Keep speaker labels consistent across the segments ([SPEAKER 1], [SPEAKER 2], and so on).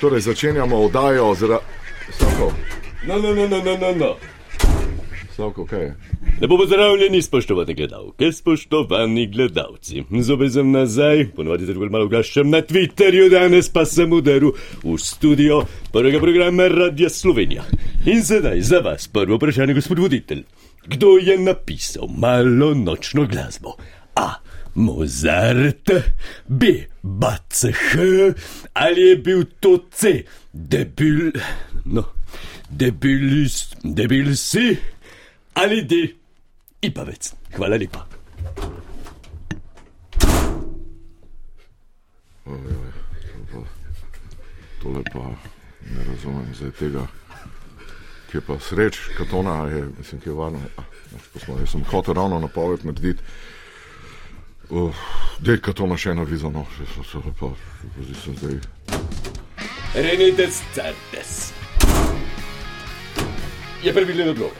[SPEAKER 1] Torej, začenjamo oddajo z ra... Slavko,
[SPEAKER 2] No, no, no, no, no, no, no.
[SPEAKER 1] Slavko, kaj je?
[SPEAKER 2] Lepo pozdravljeni, spoštovane gledalke, spoštovani gledalci. Zopet sem nazaj, ponovadi se bolj malo oglašam na Twitterju, danes pa sem udaril v studio prvega programa Radia Slovenija. In sedaj za vas prvo vprašanje, gospod voditelj. Kdo je napisal malo nočno glasbo? A. Mozart, B. Bach, ali je bil to C. Debil, no, debilist, debil si ali D. Ipavec. Hvala lepa.
[SPEAKER 1] Tole pa ne razumem zdaj tega. Kje pa sreč, katona je, mislim, kje je varno. Ah, nič poslovno, Jaz sem hotel ravno napoved narediti. Uh, Dej, katona še eno vizo, no, še so se pa, zdaj sem zdaj.
[SPEAKER 2] Renitec Certes. Je pravilen odgovor.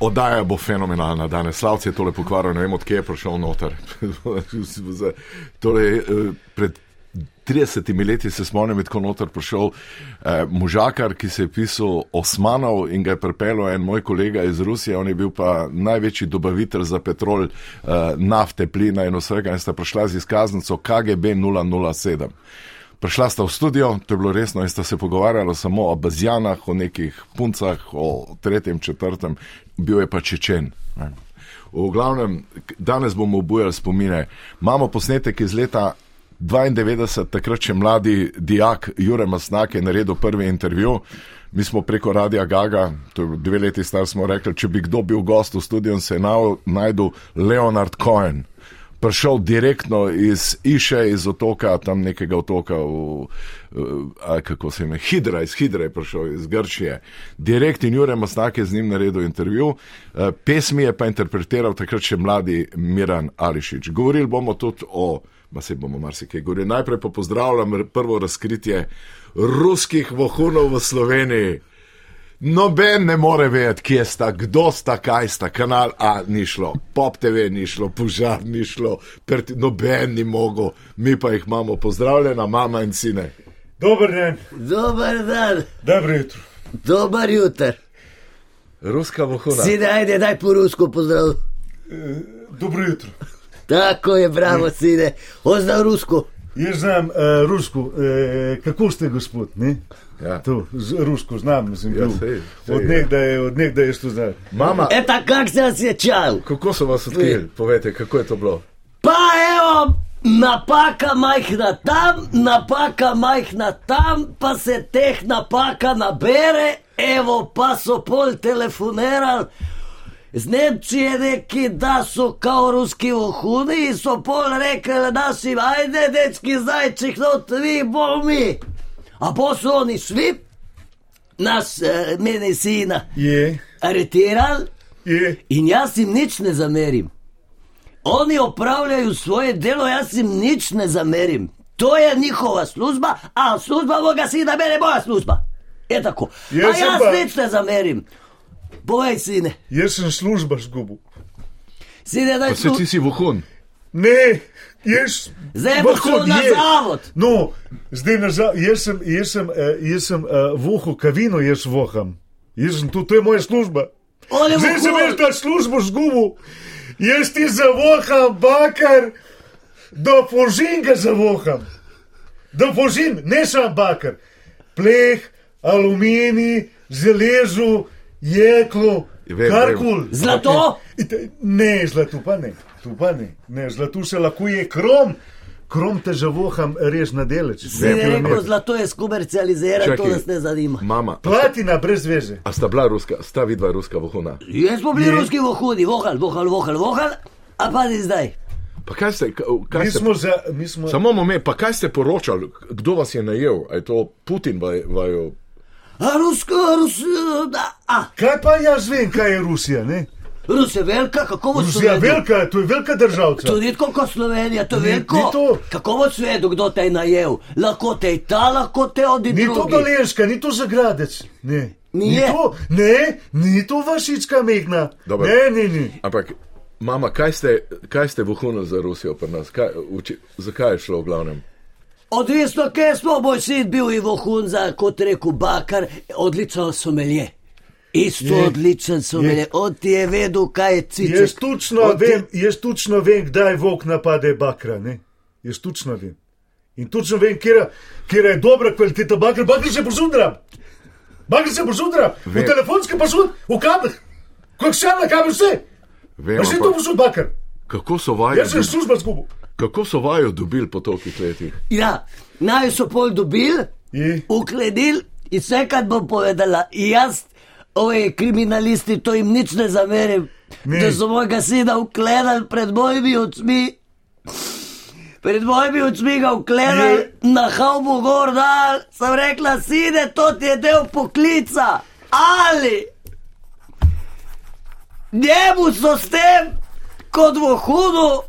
[SPEAKER 1] Oddaja bo fenomenalna danes. Slavci je tole pokvaril, ne vem, odkje je prišel noter. torej, eh, pred 30 leti se spomnim, je tako noter prišel eh, možakar, ki se je pisal Osmanov in ga je pripeljal en moj kolega iz Rusije, on je bil pa največji dobavitelj za petrol, eh, nafte, plina in vsega, in sta prišla z izkaznico KGB 007. Prišla sta v studio, to je bilo resno, in sta se pogovarjala samo o bazjanah, o nekih puncah, o tretjem, četrtem, bil je pa čečen. Ne. V glavnem, k- danes bomo obujali spomine. Imamo posnetek iz leta 92, takrat še mladi dijak Jure Masnak je naredil prvi intervju. Mi smo preko Radia Gaga, to je bilo dve leti star, smo rekli, če bi kdo bil gost v studiu, in se je naj- najdel Leonard Cohen prišel direktno iz Iše, iz otoka, tam nekega otoka, v, v- a, kako se ime, Hidra, iz Hidra je prišel, iz Grčije. Direkt in Jure Masnak je z njim naredil intervju, Eh, pesmi je pa interpretiral takrat še mladi Miran Ališič. Govorili bomo tudi o, ma se bomo marsikaj govorili, najprej pa pozdravljam r- prvo razkritje ruskih vohunov v Sloveniji. Noben ne more vedeti, kje sta, kdo sta, kaj sta, kanal A ni šlo, pop TV ni šlo, požar ni šlo, prti, noben ni mogel, mi pa jih imamo, pozdravljena, mama in sine.
[SPEAKER 3] Dober dan,
[SPEAKER 4] Dobar dan,
[SPEAKER 3] dobro jutro.
[SPEAKER 4] dobar jutr.
[SPEAKER 1] Ruska vohuna.
[SPEAKER 4] Sine, ajde, daj po rusko pozdrav.
[SPEAKER 3] Dobro jutro.
[SPEAKER 4] Tako je, bravo, sine. On zna rusko.
[SPEAKER 3] Jaz znam uh, rusko, uh, kako ste, gospod? Ne?
[SPEAKER 1] Ja.
[SPEAKER 3] To, z, rusko znam, sem bil.
[SPEAKER 1] sej, sej,
[SPEAKER 3] od nekdaj, od nekdaj jaz to znam.
[SPEAKER 1] Mama,
[SPEAKER 4] Eta, kak se osjećal?
[SPEAKER 1] kako so vas odkrili, povete, kako je to bilo?
[SPEAKER 4] Pa evo, napaka majhna tam, napaka majhna tam, pa se teh napaka nabere, evo pa so pol telefonirali. Z Nemčije neki, da so kao ruski vohuni in so pol rekli našim, ajde, dečki, zajček, no, vi bomo mi. A pa so oni svi, nas, eh, meni sina,
[SPEAKER 3] Je,
[SPEAKER 4] aretirali
[SPEAKER 3] je,
[SPEAKER 4] in jaz jim nič ne zamerim. Oni opravljajo svoje delo, jaz jim nič ne zamerim. To je njihova služba, a služba moga sina, mene moja služba. Je tako.
[SPEAKER 3] Jaz
[SPEAKER 4] a
[SPEAKER 3] sem
[SPEAKER 4] jaz
[SPEAKER 3] pa-
[SPEAKER 4] nič ne zamerim. Povej, sine,
[SPEAKER 3] jaz sem služba zgubil.
[SPEAKER 4] sine, daj
[SPEAKER 1] Se
[SPEAKER 4] tu.
[SPEAKER 1] ti si vohun.
[SPEAKER 3] Ne, jaz.
[SPEAKER 4] Zdaj boš šel
[SPEAKER 3] Vrhod
[SPEAKER 4] na
[SPEAKER 3] je.
[SPEAKER 4] zavod.
[SPEAKER 3] No, zdaj nazaj, jaz sem, jaz sem, eh, jaz sem uh, voho kavino, jaz voham. Jaz sem tu, to je moja služba.
[SPEAKER 4] Oni
[SPEAKER 3] Zdaj sem
[SPEAKER 4] vohuni.
[SPEAKER 3] jaz ta službo zgubil, jaz ti zavoham, bakar, do požinga zavoham. da vožim, ne samo bakar, pleh, aluminij, železo, jeklo,
[SPEAKER 1] Vem,
[SPEAKER 3] karkoli.
[SPEAKER 4] Zlato?
[SPEAKER 3] In te- Ne, zlato pa ne, tu pa ne. ne zlato še lahko je krom, krom te žavoham res na deleč.
[SPEAKER 4] Se ne
[SPEAKER 1] Vem,
[SPEAKER 4] rekel,
[SPEAKER 1] vem.
[SPEAKER 4] zlato je skomercializirano, to
[SPEAKER 1] Čakaj.
[SPEAKER 4] nas ne zanima.
[SPEAKER 1] Mama,
[SPEAKER 3] Platina brez veze.
[SPEAKER 1] a sta bila ruska, sta vidva ruska vohuna?
[SPEAKER 4] Jaz smo bili
[SPEAKER 3] Ne.
[SPEAKER 4] ruski vohudi, vohal, vohal, vohal, vohal, a pa ni zdaj.
[SPEAKER 1] Pa kaj ste, k- kaj
[SPEAKER 3] Mi
[SPEAKER 1] ste?
[SPEAKER 3] smo za. Mi smo,
[SPEAKER 1] Samo moment, pa kaj ste poročali, kdo vas je najel? A je to Putin vaj- vaju?
[SPEAKER 4] A rusko, rus, da, a,
[SPEAKER 3] kaj pa jaz vem, kaj je Rusija? Ne?
[SPEAKER 4] Rus je velika, kako bo
[SPEAKER 3] Rusija je velika, to je velika država.
[SPEAKER 4] To ni tako kot Slovenija, to je
[SPEAKER 3] Ni- ni
[SPEAKER 4] veliko.
[SPEAKER 3] to.
[SPEAKER 4] Kako bo svetu, kdo te je najel? Lahko te je ta, lahko te odi
[SPEAKER 3] Ni to
[SPEAKER 4] drugi.
[SPEAKER 3] dolenska, ni to zagradec. Ne.
[SPEAKER 4] Ni
[SPEAKER 3] ni
[SPEAKER 4] je.
[SPEAKER 3] to, ne, ni to vašicka megna.
[SPEAKER 1] Dobro.
[SPEAKER 3] Ne, ne, ne.
[SPEAKER 1] Ampak, mama, kaj ste, kaj ste vohunili za Rusijo pri nas? Kaj, uči, zakaj je šlo v glavnem?
[SPEAKER 4] Odvisno, kje smo, moj sin bil je vohun za, kot rekel Bakar, odličen somelje. Isto
[SPEAKER 3] Je.
[SPEAKER 4] odličen somelje,
[SPEAKER 3] Je.
[SPEAKER 4] on ti je vedel, kaj je ciljno.
[SPEAKER 3] Jaz točno vem, jaz točno vem, kdaj vok napade bakra. Ne? Jaz točno vem. In točno vem, kje kje je dobra kvaliteta bakra, bakri se pozundram. Bakri se pozundram, v
[SPEAKER 1] Vem.
[SPEAKER 3] telefonski posud, v kablih. Kot še na kabel vse.
[SPEAKER 1] Vem,
[SPEAKER 3] Ja, še to
[SPEAKER 1] ampak,
[SPEAKER 3] posud bakar.
[SPEAKER 1] kako, so vaju,
[SPEAKER 3] Jaz sem služba zgubil.
[SPEAKER 1] kako so vaju dobili po tolikih letih?
[SPEAKER 4] Ja, naj so pol dobili,
[SPEAKER 3] Je.
[SPEAKER 4] ukledili in vse, kar bom povedala. In Jaz, ovi kriminalisti, to jim nič ne zamerim,
[SPEAKER 3] Ne.
[SPEAKER 4] ne. da so mojega sina ukledali pred mojimi očmi. Pred mojimi očmi ga ukledali,
[SPEAKER 3] Je.
[SPEAKER 4] na haubu gor dal, sem rekla, sine, to ti je del poklica, ali. Njemu so s tem, kot v hudu,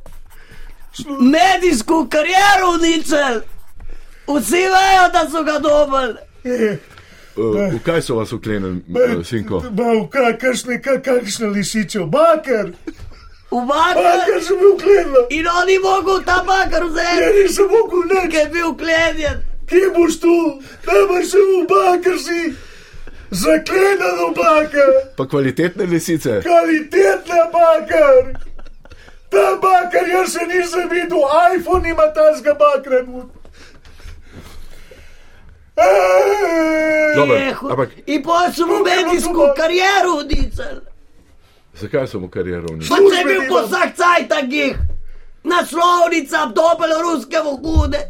[SPEAKER 4] medijsko kariero uničili. Vsi vejo, da so ga dobili.
[SPEAKER 3] Je.
[SPEAKER 1] Uh, v kaj so vas uklenili,
[SPEAKER 3] Ma-
[SPEAKER 1] eh, sinko?
[SPEAKER 3] Ma, v kakšne, ka- kakšne lisiče, bakar.
[SPEAKER 4] Umaknil
[SPEAKER 3] Bakar sem bil gledal.
[SPEAKER 4] in on ni mogel ta bakar
[SPEAKER 3] Ja,
[SPEAKER 4] vzeti,
[SPEAKER 3] nisem mogel nič.
[SPEAKER 4] ker je bil klenjen.
[SPEAKER 3] Kje boš tu, da boš še v bakar si, zaklenjen v bakar,
[SPEAKER 1] Pa kvalitetne lisice?
[SPEAKER 3] kvalitetna bakar. Ta bakar jaz še nisem videl, iPhone ima ta zga bakar. Е,
[SPEAKER 1] Dobro,
[SPEAKER 4] Je hud.
[SPEAKER 1] ampak-
[SPEAKER 4] In potem so mu medijsko kariero uničili.
[SPEAKER 1] Zakaj so mu kariero uničili?
[SPEAKER 4] Pa če je bil
[SPEAKER 3] Službeni
[SPEAKER 4] po
[SPEAKER 3] vam.
[SPEAKER 4] vsak cajt takih, naslovnica, dobel ruske vohune.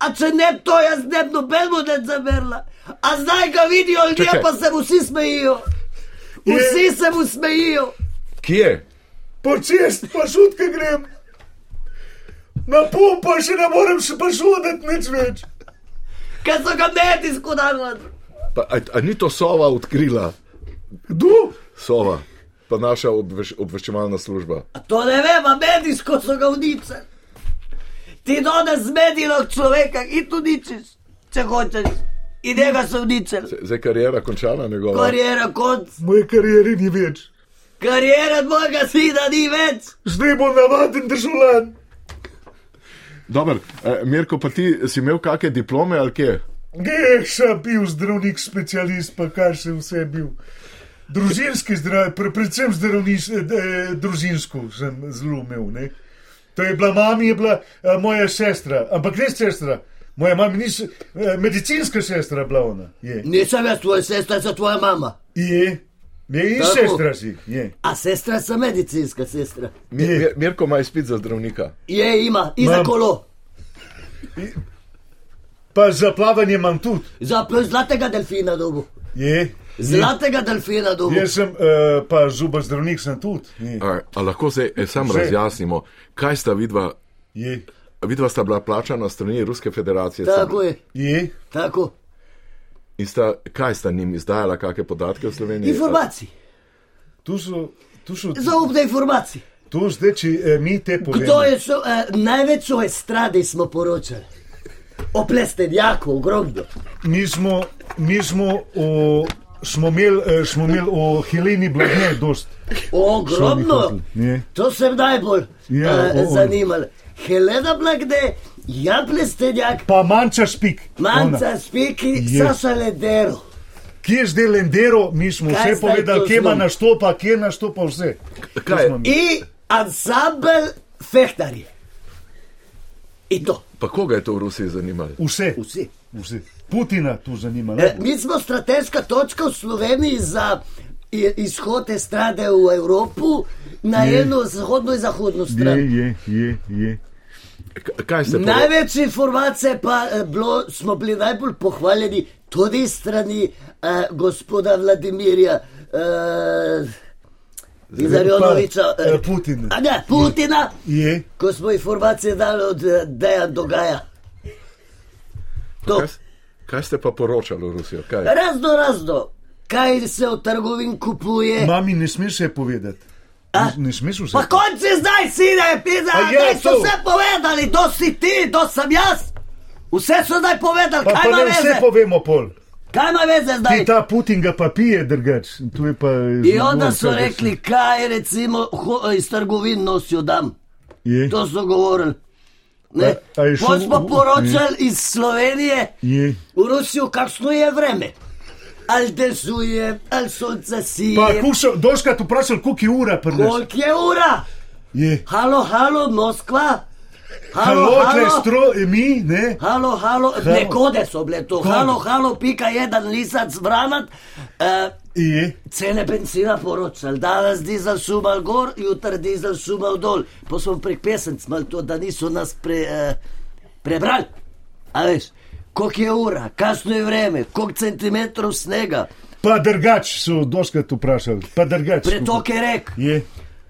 [SPEAKER 4] A če ne to, jaz ne bi nobeno ne zamerla. A zdaj ga vidijo ljudje,
[SPEAKER 1] Čakaj.
[SPEAKER 4] pa se mu vsi smejijo. Vsi se mu smejijo.
[SPEAKER 1] Kje?
[SPEAKER 3] Počest, pa šutka grem. Na pumpa še ne morem še pa šuditi nič več.
[SPEAKER 4] Ker so ga medijsko dali.
[SPEAKER 1] Pa, a, a ni to sova odkrila?
[SPEAKER 3] Kdo?
[SPEAKER 1] Sova, pa naša obveš, obveščevalna služba.
[SPEAKER 4] A To ne vem, a medijsko so ga uničili. Ti danes zmedilog človeka in tu ničiš, če hočeš. In njega so uničili.
[SPEAKER 1] Zdaj je karijera končana, njegova.
[SPEAKER 4] Karijera konc,
[SPEAKER 3] Moje karijere ni več.
[SPEAKER 4] karijera mojega sina ni več.
[SPEAKER 3] Zdaj bom navaden državljan.
[SPEAKER 1] Dober, eh, Mirko, pa ti si imel kakšne diplome ali kje?
[SPEAKER 3] Geša bil zdravnik, specialist, pa kar še vse bil. Družinski zdrav, pre, predvsem zdravniš, eh, eh, družinsko sem zelo imel. Ne? To je bila mami, je bila eh, moja sestra, ampak ne sestra. Moja mama ni se- eh, medicinska sestra, bila ona. Je,
[SPEAKER 4] Nisem jaz tvoja sestra, sem tvoja mama.
[SPEAKER 3] je, je E, in
[SPEAKER 4] Tako.
[SPEAKER 3] sestra si. Je.
[SPEAKER 4] A sestra sem medicinska sestra.
[SPEAKER 1] Mi,
[SPEAKER 3] Je.
[SPEAKER 1] Mi- Mirko ima izpit za zdravnika.
[SPEAKER 4] Je ima, in za
[SPEAKER 3] Mam.
[SPEAKER 4] kolo.
[SPEAKER 3] Pa za plavanje imam tudi.
[SPEAKER 4] Za pl- zlatega delfina dobu.
[SPEAKER 3] Je.
[SPEAKER 4] Zlatega delfina dobu.
[SPEAKER 3] Jaz sem eh, pa zobozdravnik, sem tudi. Je.
[SPEAKER 1] A, a lahko zdaj eh, sam
[SPEAKER 3] Že.
[SPEAKER 1] razjasnimo, kaj sta vidva,
[SPEAKER 3] Je.
[SPEAKER 1] vidva sta bila plačana strani Ruske federacije
[SPEAKER 4] Tako je,
[SPEAKER 3] Je.
[SPEAKER 4] tako.
[SPEAKER 1] in sta, kaj sta njim izdajala, kakšne podatke v Sloveniji?
[SPEAKER 4] Informacij,
[SPEAKER 3] Tu so, tu so,
[SPEAKER 4] zaupne informacije.
[SPEAKER 3] tu zdaj, če eh, mi te povemo.
[SPEAKER 4] Kdo je šel? Eh, največ o estradi smo poročali. O plestenjaku, ogromno.
[SPEAKER 3] Mi smo, mi smo, o, smo imeli, eh, smo imeli o Heleni Blagne, dost.
[SPEAKER 4] Ogromno.
[SPEAKER 3] Je.
[SPEAKER 4] To se najbolj
[SPEAKER 3] Ja,
[SPEAKER 4] ja,
[SPEAKER 3] o,
[SPEAKER 4] eh,
[SPEAKER 3] o.
[SPEAKER 4] zanimalo. Helena Blagde, Jan Plestenjak,
[SPEAKER 3] Pa manjša špik. Ona.
[SPEAKER 4] Manca Spiki,
[SPEAKER 3] Je.
[SPEAKER 4] Saša Ledero.
[SPEAKER 3] Kje je zdaj Lendero, mi smo
[SPEAKER 4] Kaj
[SPEAKER 3] vse
[SPEAKER 4] zdaj
[SPEAKER 3] povedali,
[SPEAKER 4] to
[SPEAKER 3] kje ima
[SPEAKER 4] znam?
[SPEAKER 3] nastopa, kje nastopa vse.
[SPEAKER 1] Kaj je?
[SPEAKER 3] smo mi.
[SPEAKER 4] In ansambl Fehtari. In to.
[SPEAKER 1] Pa koga je to v Rusiji zanimalo?
[SPEAKER 3] Vse.
[SPEAKER 4] Vsi.
[SPEAKER 3] Vse. Putina tu zanima.
[SPEAKER 4] E,
[SPEAKER 3] najbolj.
[SPEAKER 4] mi smo strateška točka v Sloveniji za i- izhod estrade v Evropu na eno zahodno in zahodno stran.
[SPEAKER 3] Je, je, je, je.
[SPEAKER 1] K- Kaj ste pa?
[SPEAKER 4] Največ informacije pa eh, bilo, smo bili najbolj pohvaljeni tudi s strani eh, gospoda Vladimirja. Eh, Zarjonoviča,
[SPEAKER 3] Pa, eh, Putin.
[SPEAKER 4] A ne, Putina,
[SPEAKER 3] je.
[SPEAKER 4] ko smo informacije dali od eh, Dejan Dogaja. To,
[SPEAKER 1] Kaj, s- kaj ste pa poročali v Rusijo? Kaj?
[SPEAKER 4] razno, razno, kaj se v trgovini kupuje.
[SPEAKER 3] Mami, ne smeš se povedati.
[SPEAKER 4] e. A?
[SPEAKER 3] Ne, ne smeš vse.
[SPEAKER 4] Pa konci zdaj, sine, pizda,
[SPEAKER 3] Pa je
[SPEAKER 4] zdaj so
[SPEAKER 3] to.
[SPEAKER 4] vse povedali, to si ti, to sem jaz. Vse so zdaj povedali,
[SPEAKER 3] pa,
[SPEAKER 4] kaj
[SPEAKER 3] pa
[SPEAKER 4] ima
[SPEAKER 3] ne
[SPEAKER 4] veze,
[SPEAKER 3] vse povemo pol.
[SPEAKER 4] kaj ima veze zdaj.
[SPEAKER 3] Ti ta Putin ga pa pije drugač. Tu je pa.
[SPEAKER 4] In onda
[SPEAKER 3] zelo
[SPEAKER 4] so
[SPEAKER 3] vse, da
[SPEAKER 4] rekli, kaj recimo ho, iz trgovin nosijo dam.
[SPEAKER 3] Je.
[SPEAKER 4] To so govorili. Ne.
[SPEAKER 3] A- a je šel
[SPEAKER 4] Ko
[SPEAKER 3] v-
[SPEAKER 4] smo poročali iz Slovenije
[SPEAKER 3] Je.
[SPEAKER 4] v Rusijo, kakšno je vreme. Ali dežuje, ali sonce
[SPEAKER 3] Pa
[SPEAKER 4] sije.
[SPEAKER 3] kušal, doškrat vprašal, koliko je ura pri nas.
[SPEAKER 4] Koliko je ura?
[SPEAKER 3] Je.
[SPEAKER 4] Halo, halo, Moskva. Halo,
[SPEAKER 3] Halo, tle
[SPEAKER 4] halo.
[SPEAKER 3] stro, mi, ne.
[SPEAKER 4] Halo, halo, nekode so bile to.
[SPEAKER 3] Kode.
[SPEAKER 4] Halo, halo, pika jedan lisac vranat. E,
[SPEAKER 3] Je.
[SPEAKER 4] cene benzina poročali, danes dizel šumal gor, jutr dizel šumal dol. Pa smo prek pesenc mal to, da niso nas pre, e, prebrali. A veš, koliko je ura, kakšno je vreme, koliko centimetrov snega,
[SPEAKER 3] Pa drugač so doškrat vprašal. Pa drugač.
[SPEAKER 4] pretoke rek,
[SPEAKER 3] Je.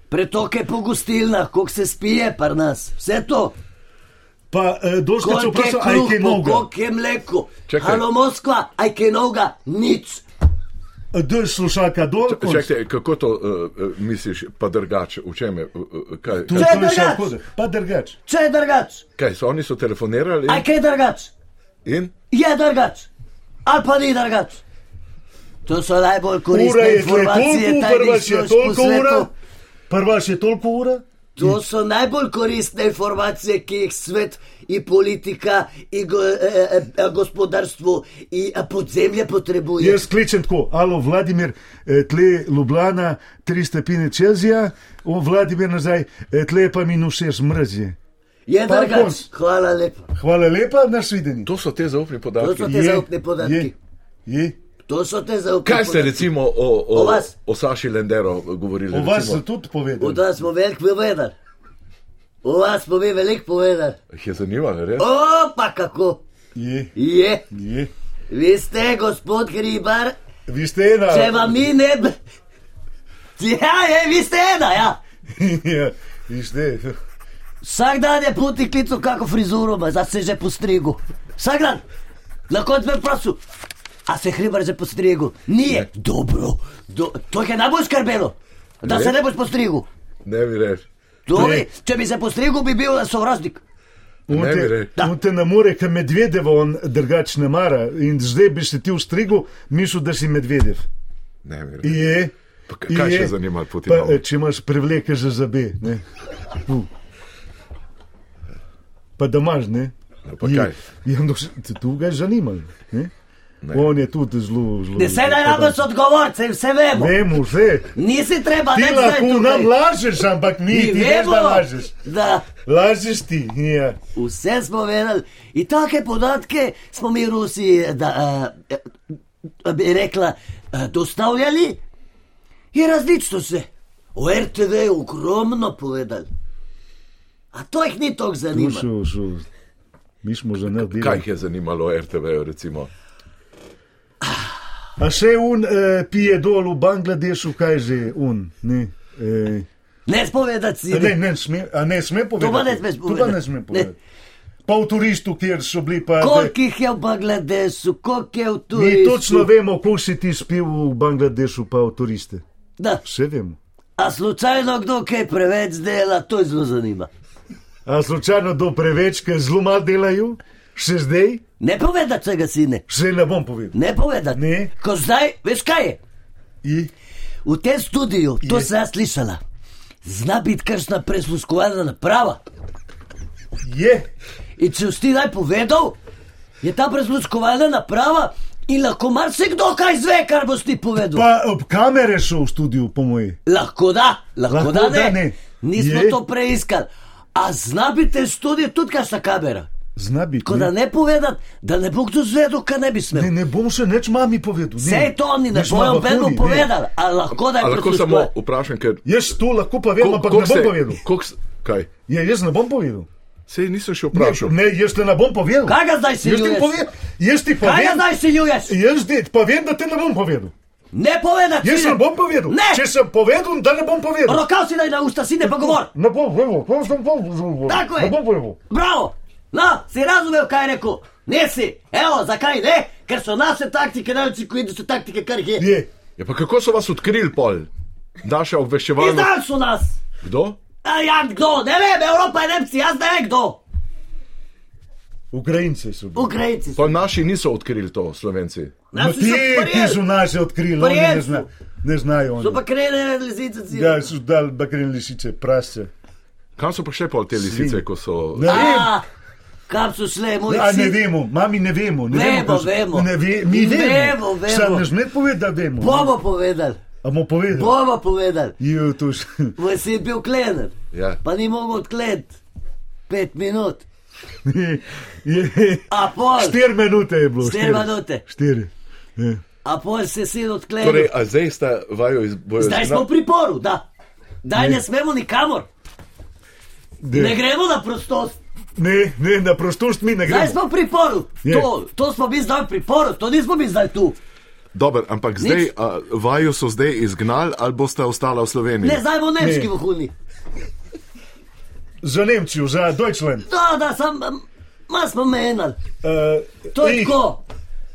[SPEAKER 4] pretoke po gostilnah, koliko se spije par nas, vse to.
[SPEAKER 3] Pa eh, doškrat so
[SPEAKER 4] Koliko je
[SPEAKER 3] vprašal, aj
[SPEAKER 4] kruh,
[SPEAKER 3] kaj
[SPEAKER 4] po
[SPEAKER 3] novega.
[SPEAKER 4] koliko je mleko.
[SPEAKER 1] Čakaj.
[SPEAKER 4] Halo Moskva, aj kaj novega, nič.
[SPEAKER 3] Dol slušalka dol. konc.
[SPEAKER 1] Čakajte, kako to uh, misliš, pa drugače, v čem je? Uh, uh, kaj,
[SPEAKER 3] Tu
[SPEAKER 4] Če-
[SPEAKER 3] to
[SPEAKER 1] kaj,
[SPEAKER 3] je še
[SPEAKER 4] drugač.
[SPEAKER 3] odkud. Pa drugač.
[SPEAKER 4] Če je drugač,
[SPEAKER 1] kaj so oni so telefonirali
[SPEAKER 4] aj
[SPEAKER 1] in,
[SPEAKER 4] kaj drugač,
[SPEAKER 1] in
[SPEAKER 4] je drugač, ali pa ni drugač. To so najbolj
[SPEAKER 3] Ura
[SPEAKER 4] koristne
[SPEAKER 3] je tle
[SPEAKER 4] informacije,
[SPEAKER 3] toliko,
[SPEAKER 4] tajnih
[SPEAKER 3] prva še
[SPEAKER 4] služb
[SPEAKER 3] toliko
[SPEAKER 4] po svetu.
[SPEAKER 3] ura. Prva še toliko ura.
[SPEAKER 4] To so najbolj koristne informacije, ki jih svet in politika in go, eh, eh, eh, gospodarstvo in eh, podzemlje potrebuje.
[SPEAKER 3] Jaz kličem tako, alo Vladimir, eh, tle Ljubljana, 3 stopinje Celzija, o Vladimir nazaj, eh, tle pa minus 6 mrzje.
[SPEAKER 4] je
[SPEAKER 3] pa
[SPEAKER 4] drugač,
[SPEAKER 3] konc.
[SPEAKER 4] hvala lepa.
[SPEAKER 3] Hvala lepa, naš viden.
[SPEAKER 1] to so te zaupni
[SPEAKER 4] To
[SPEAKER 1] podatki.
[SPEAKER 4] so te zaupne podatki.
[SPEAKER 3] Je, je.
[SPEAKER 4] To so te zaupne
[SPEAKER 1] Kaj ste
[SPEAKER 4] podatki.
[SPEAKER 1] recimo o, o,
[SPEAKER 4] O vas.
[SPEAKER 1] o Saši Lendero govorili?
[SPEAKER 3] O vas
[SPEAKER 1] recimo?
[SPEAKER 3] so tudi
[SPEAKER 4] O
[SPEAKER 3] povedali.
[SPEAKER 4] vas smo veliko povedali. O vas smo mi veliko povedali.
[SPEAKER 1] Jih je zanimalo, res?
[SPEAKER 4] O, pa kako
[SPEAKER 3] Je,
[SPEAKER 4] je.
[SPEAKER 3] je.
[SPEAKER 4] Vi ste, gospod Hribar,
[SPEAKER 3] Vi ste ena.
[SPEAKER 4] če vam mi ne bi. Ja, je, vi ste ena, ja.
[SPEAKER 3] ja, vi ste.
[SPEAKER 4] Vsak dan je puti klical, kako frizuro ima, zdaj se je že postrigel. Vsak dan. Na koncu me prosil, a se je Hribar že postrigel? Nije. Dobro. Do, to jih je najbolj skrbelo, da
[SPEAKER 1] Ne.
[SPEAKER 4] se ne boš postrigel.
[SPEAKER 1] Ne bi reč.
[SPEAKER 4] Torej,
[SPEAKER 3] Ne.
[SPEAKER 4] če bi se postrigel, bi bil sovražnik.
[SPEAKER 3] On
[SPEAKER 1] Ne bi
[SPEAKER 3] te,
[SPEAKER 1] rekel.
[SPEAKER 3] on te ne more, ker medvedevo on drugač ne mara. In zdaj bi se ti ustrigel, mislil, da si medvedev.
[SPEAKER 1] Ne bi reč.
[SPEAKER 3] Je.
[SPEAKER 1] Pa k- kaj
[SPEAKER 3] je.
[SPEAKER 1] še zanima Putinov?
[SPEAKER 3] Pa, eh, če imaš prevleke za zobe, ne. U. Pa da imaš, ne.
[SPEAKER 1] pa
[SPEAKER 3] Je.
[SPEAKER 1] kaj?
[SPEAKER 3] Ja, no, s- t- tu ga zanima. Ne? On je tudi zelo, zelo.
[SPEAKER 4] Ne se naj rado so odgovorci, vse vemo.
[SPEAKER 3] Vemo vse.
[SPEAKER 4] Nisi treba,
[SPEAKER 3] Ti
[SPEAKER 4] ne zdaj
[SPEAKER 3] lahko
[SPEAKER 4] tukaj.
[SPEAKER 3] nam lažeš, ampak mi,
[SPEAKER 4] Mi
[SPEAKER 3] ti veš,
[SPEAKER 4] vemo,
[SPEAKER 3] da lažeš.
[SPEAKER 4] da
[SPEAKER 3] Lažeš ti. Ja.
[SPEAKER 4] vse smo vedeli in take podatke smo mi Rusi, da eh, eh, bi rekla, eh, dostavljali in različno se. O RTV je ogromno povedali. A to jih ni toliko
[SPEAKER 3] Tu
[SPEAKER 4] zanimalo.
[SPEAKER 3] so, so. Mi smo za nas
[SPEAKER 1] Kaj
[SPEAKER 3] delali.
[SPEAKER 1] jih je zanimalo RTV-ju recimo?
[SPEAKER 3] A še un eh, pije dol v Bangladešu, kaj že un. Ne, eh,
[SPEAKER 4] Ne spovedati si.
[SPEAKER 3] ne, ne, sme, a ne sme povedati.
[SPEAKER 4] pa ne smeš
[SPEAKER 3] To
[SPEAKER 4] povedati.
[SPEAKER 3] pa ne sme
[SPEAKER 4] Ne.
[SPEAKER 3] povedati. Pa v turistu, kjer so bili pa.
[SPEAKER 4] Koliko jih je v Bangladešu, koliko je v
[SPEAKER 3] Mi
[SPEAKER 4] Turčiji.
[SPEAKER 3] točno vemo, koliko si ti spil v Bangladešu, pa v turiste.
[SPEAKER 4] Da,
[SPEAKER 3] Vse vemo.
[SPEAKER 4] a slučajno kdo kaj preveč dela, to je zelo zanima.
[SPEAKER 3] A slučajno do preveč, ker zelo malo delajo, še zdaj,
[SPEAKER 4] Ne povedati tega sine.
[SPEAKER 3] še ne bom povedal.
[SPEAKER 4] Ne povedati.
[SPEAKER 3] Ne.
[SPEAKER 4] Ko zdaj, veš kaj je?
[SPEAKER 3] I,
[SPEAKER 4] V tem studiu, to
[SPEAKER 3] Je.
[SPEAKER 4] sem jaz slišala, zna biti kakšna presluškovalna naprava.
[SPEAKER 3] je,
[SPEAKER 4] In če si ti naj povedal, je ta presluškovalna naprava in lahko marsikdo kaj zve, kar boš ti povedal.
[SPEAKER 3] pa ob kamere so v studiu, po moji.
[SPEAKER 4] Lahko da, lahko, lahko da ne. ne. Nismo
[SPEAKER 3] Je.
[SPEAKER 4] to preiskali. A zna biti v tem studiu tudi kakšna kamera.
[SPEAKER 3] Zna biti.
[SPEAKER 4] Tako da ne povedati, da ne bo kdo zvedel, kaj ne bi smel.
[SPEAKER 3] Ne, ne bom še nič mami povedal.
[SPEAKER 4] Vse je to oni, ne bojo nobeno povedali, ali lahko da je
[SPEAKER 1] Ali lahko samo vprašam, ker.
[SPEAKER 3] Jaz to lahko povem, ampak ne
[SPEAKER 1] koliko
[SPEAKER 3] bom
[SPEAKER 1] se-
[SPEAKER 3] povedal.
[SPEAKER 1] koliko s- Kaj?
[SPEAKER 3] Ja, jaz ne bom povedal.
[SPEAKER 1] Sej nisem še
[SPEAKER 3] Ne,
[SPEAKER 1] vprašal.
[SPEAKER 3] ne, jaz te ne bom povedal.
[SPEAKER 4] Kaj ga zdaj
[SPEAKER 3] Jaz ti
[SPEAKER 4] siljuješ?
[SPEAKER 3] povem, jaz ti
[SPEAKER 4] Kaj ga
[SPEAKER 3] povem,
[SPEAKER 4] zdaj siljuješ?
[SPEAKER 3] jaz ti povem, da te ne bom povedal.
[SPEAKER 4] Ne povedati!
[SPEAKER 3] Jaz ne bom povedal.
[SPEAKER 4] Ne!
[SPEAKER 3] Če sem povedal, da ne bom povedal.
[SPEAKER 4] Rokav si daj na usta, si ne pogovor!
[SPEAKER 3] Ne bom povedal, to sem povedal.
[SPEAKER 4] Tako je!
[SPEAKER 3] Ne bom povedal.
[SPEAKER 4] Bravo! No, si razumel, kaj je rekel? Nisi! Evo, zakaj ne? Ker so naše taktike največji, ko so taktike, kar jih je.
[SPEAKER 3] Je.
[SPEAKER 1] Ja, pa kako so vas odkrili pol? Naša obveščevalna.
[SPEAKER 4] Izdal so nas!
[SPEAKER 1] Kdo?
[SPEAKER 4] A ja, kdo? Ne vem, Evropa je Nemci, jaz ne vem kdo.
[SPEAKER 3] Ukrajinci so bili.
[SPEAKER 4] Ukrajinci so.
[SPEAKER 1] Pa naši niso odkrili to, slovenci.
[SPEAKER 3] No,
[SPEAKER 4] Naši
[SPEAKER 3] ti,
[SPEAKER 4] so
[SPEAKER 3] ti so
[SPEAKER 4] prijeli.
[SPEAKER 3] naše odkrili, oni
[SPEAKER 4] Prijeli
[SPEAKER 3] ne,
[SPEAKER 4] so.
[SPEAKER 3] zna, ne znajo. Oni.
[SPEAKER 4] So pa krenili lisice cili.
[SPEAKER 3] Ja, so dal bakrene lisice, prase.
[SPEAKER 1] Kam so pa še pol te lisice, ko so.
[SPEAKER 3] Ne vem,
[SPEAKER 4] A, kam so šle moji
[SPEAKER 3] a ne
[SPEAKER 4] psi?
[SPEAKER 3] vemo, mami ne vemo. Ne
[SPEAKER 4] Vemo,
[SPEAKER 3] kam so-
[SPEAKER 4] vemo.
[SPEAKER 3] Ne ve, mi
[SPEAKER 4] Vemo,
[SPEAKER 3] vemo.
[SPEAKER 4] vemo.
[SPEAKER 3] Sam ne smeš povedati, da vemo.
[SPEAKER 4] Bomo povedali,
[SPEAKER 3] A mu povedal?
[SPEAKER 4] bomo povedali.
[SPEAKER 3] Jo, to še.
[SPEAKER 4] Moj sin je bil klenen,
[SPEAKER 1] Ja.
[SPEAKER 4] pa ni mogel odkleniti. Pet minut,
[SPEAKER 3] Je-
[SPEAKER 4] a pol,
[SPEAKER 3] Štiri minute je bilo.
[SPEAKER 4] Štiri minute.
[SPEAKER 3] Štiri. Ja.
[SPEAKER 4] a pol se je sin odklenil.
[SPEAKER 1] Torej, a zdaj sta vaju iz boja.
[SPEAKER 4] Zdaj smo v priporu, da. Daj ne smemo nikamor, ne
[SPEAKER 3] Ne,
[SPEAKER 4] gremo na prostost.
[SPEAKER 3] ne, ne, na prostost mi ne
[SPEAKER 4] Zdaj
[SPEAKER 3] gremo.
[SPEAKER 4] smo v priporu,
[SPEAKER 3] Je.
[SPEAKER 4] to, to smo mi zdaj v priporu, to nismo mi zdaj tu.
[SPEAKER 1] Dober, ampak zdaj a, vaju so zdaj izgnali ali boste ostala v Sloveniji?
[SPEAKER 4] Ne, zdaj bomo nemški
[SPEAKER 3] Ne.
[SPEAKER 4] vohuni.
[SPEAKER 3] Za Nemčijo, za Deutschland.
[SPEAKER 4] Da, da, sam, ma smo menali.
[SPEAKER 3] Uh,
[SPEAKER 4] To je tako,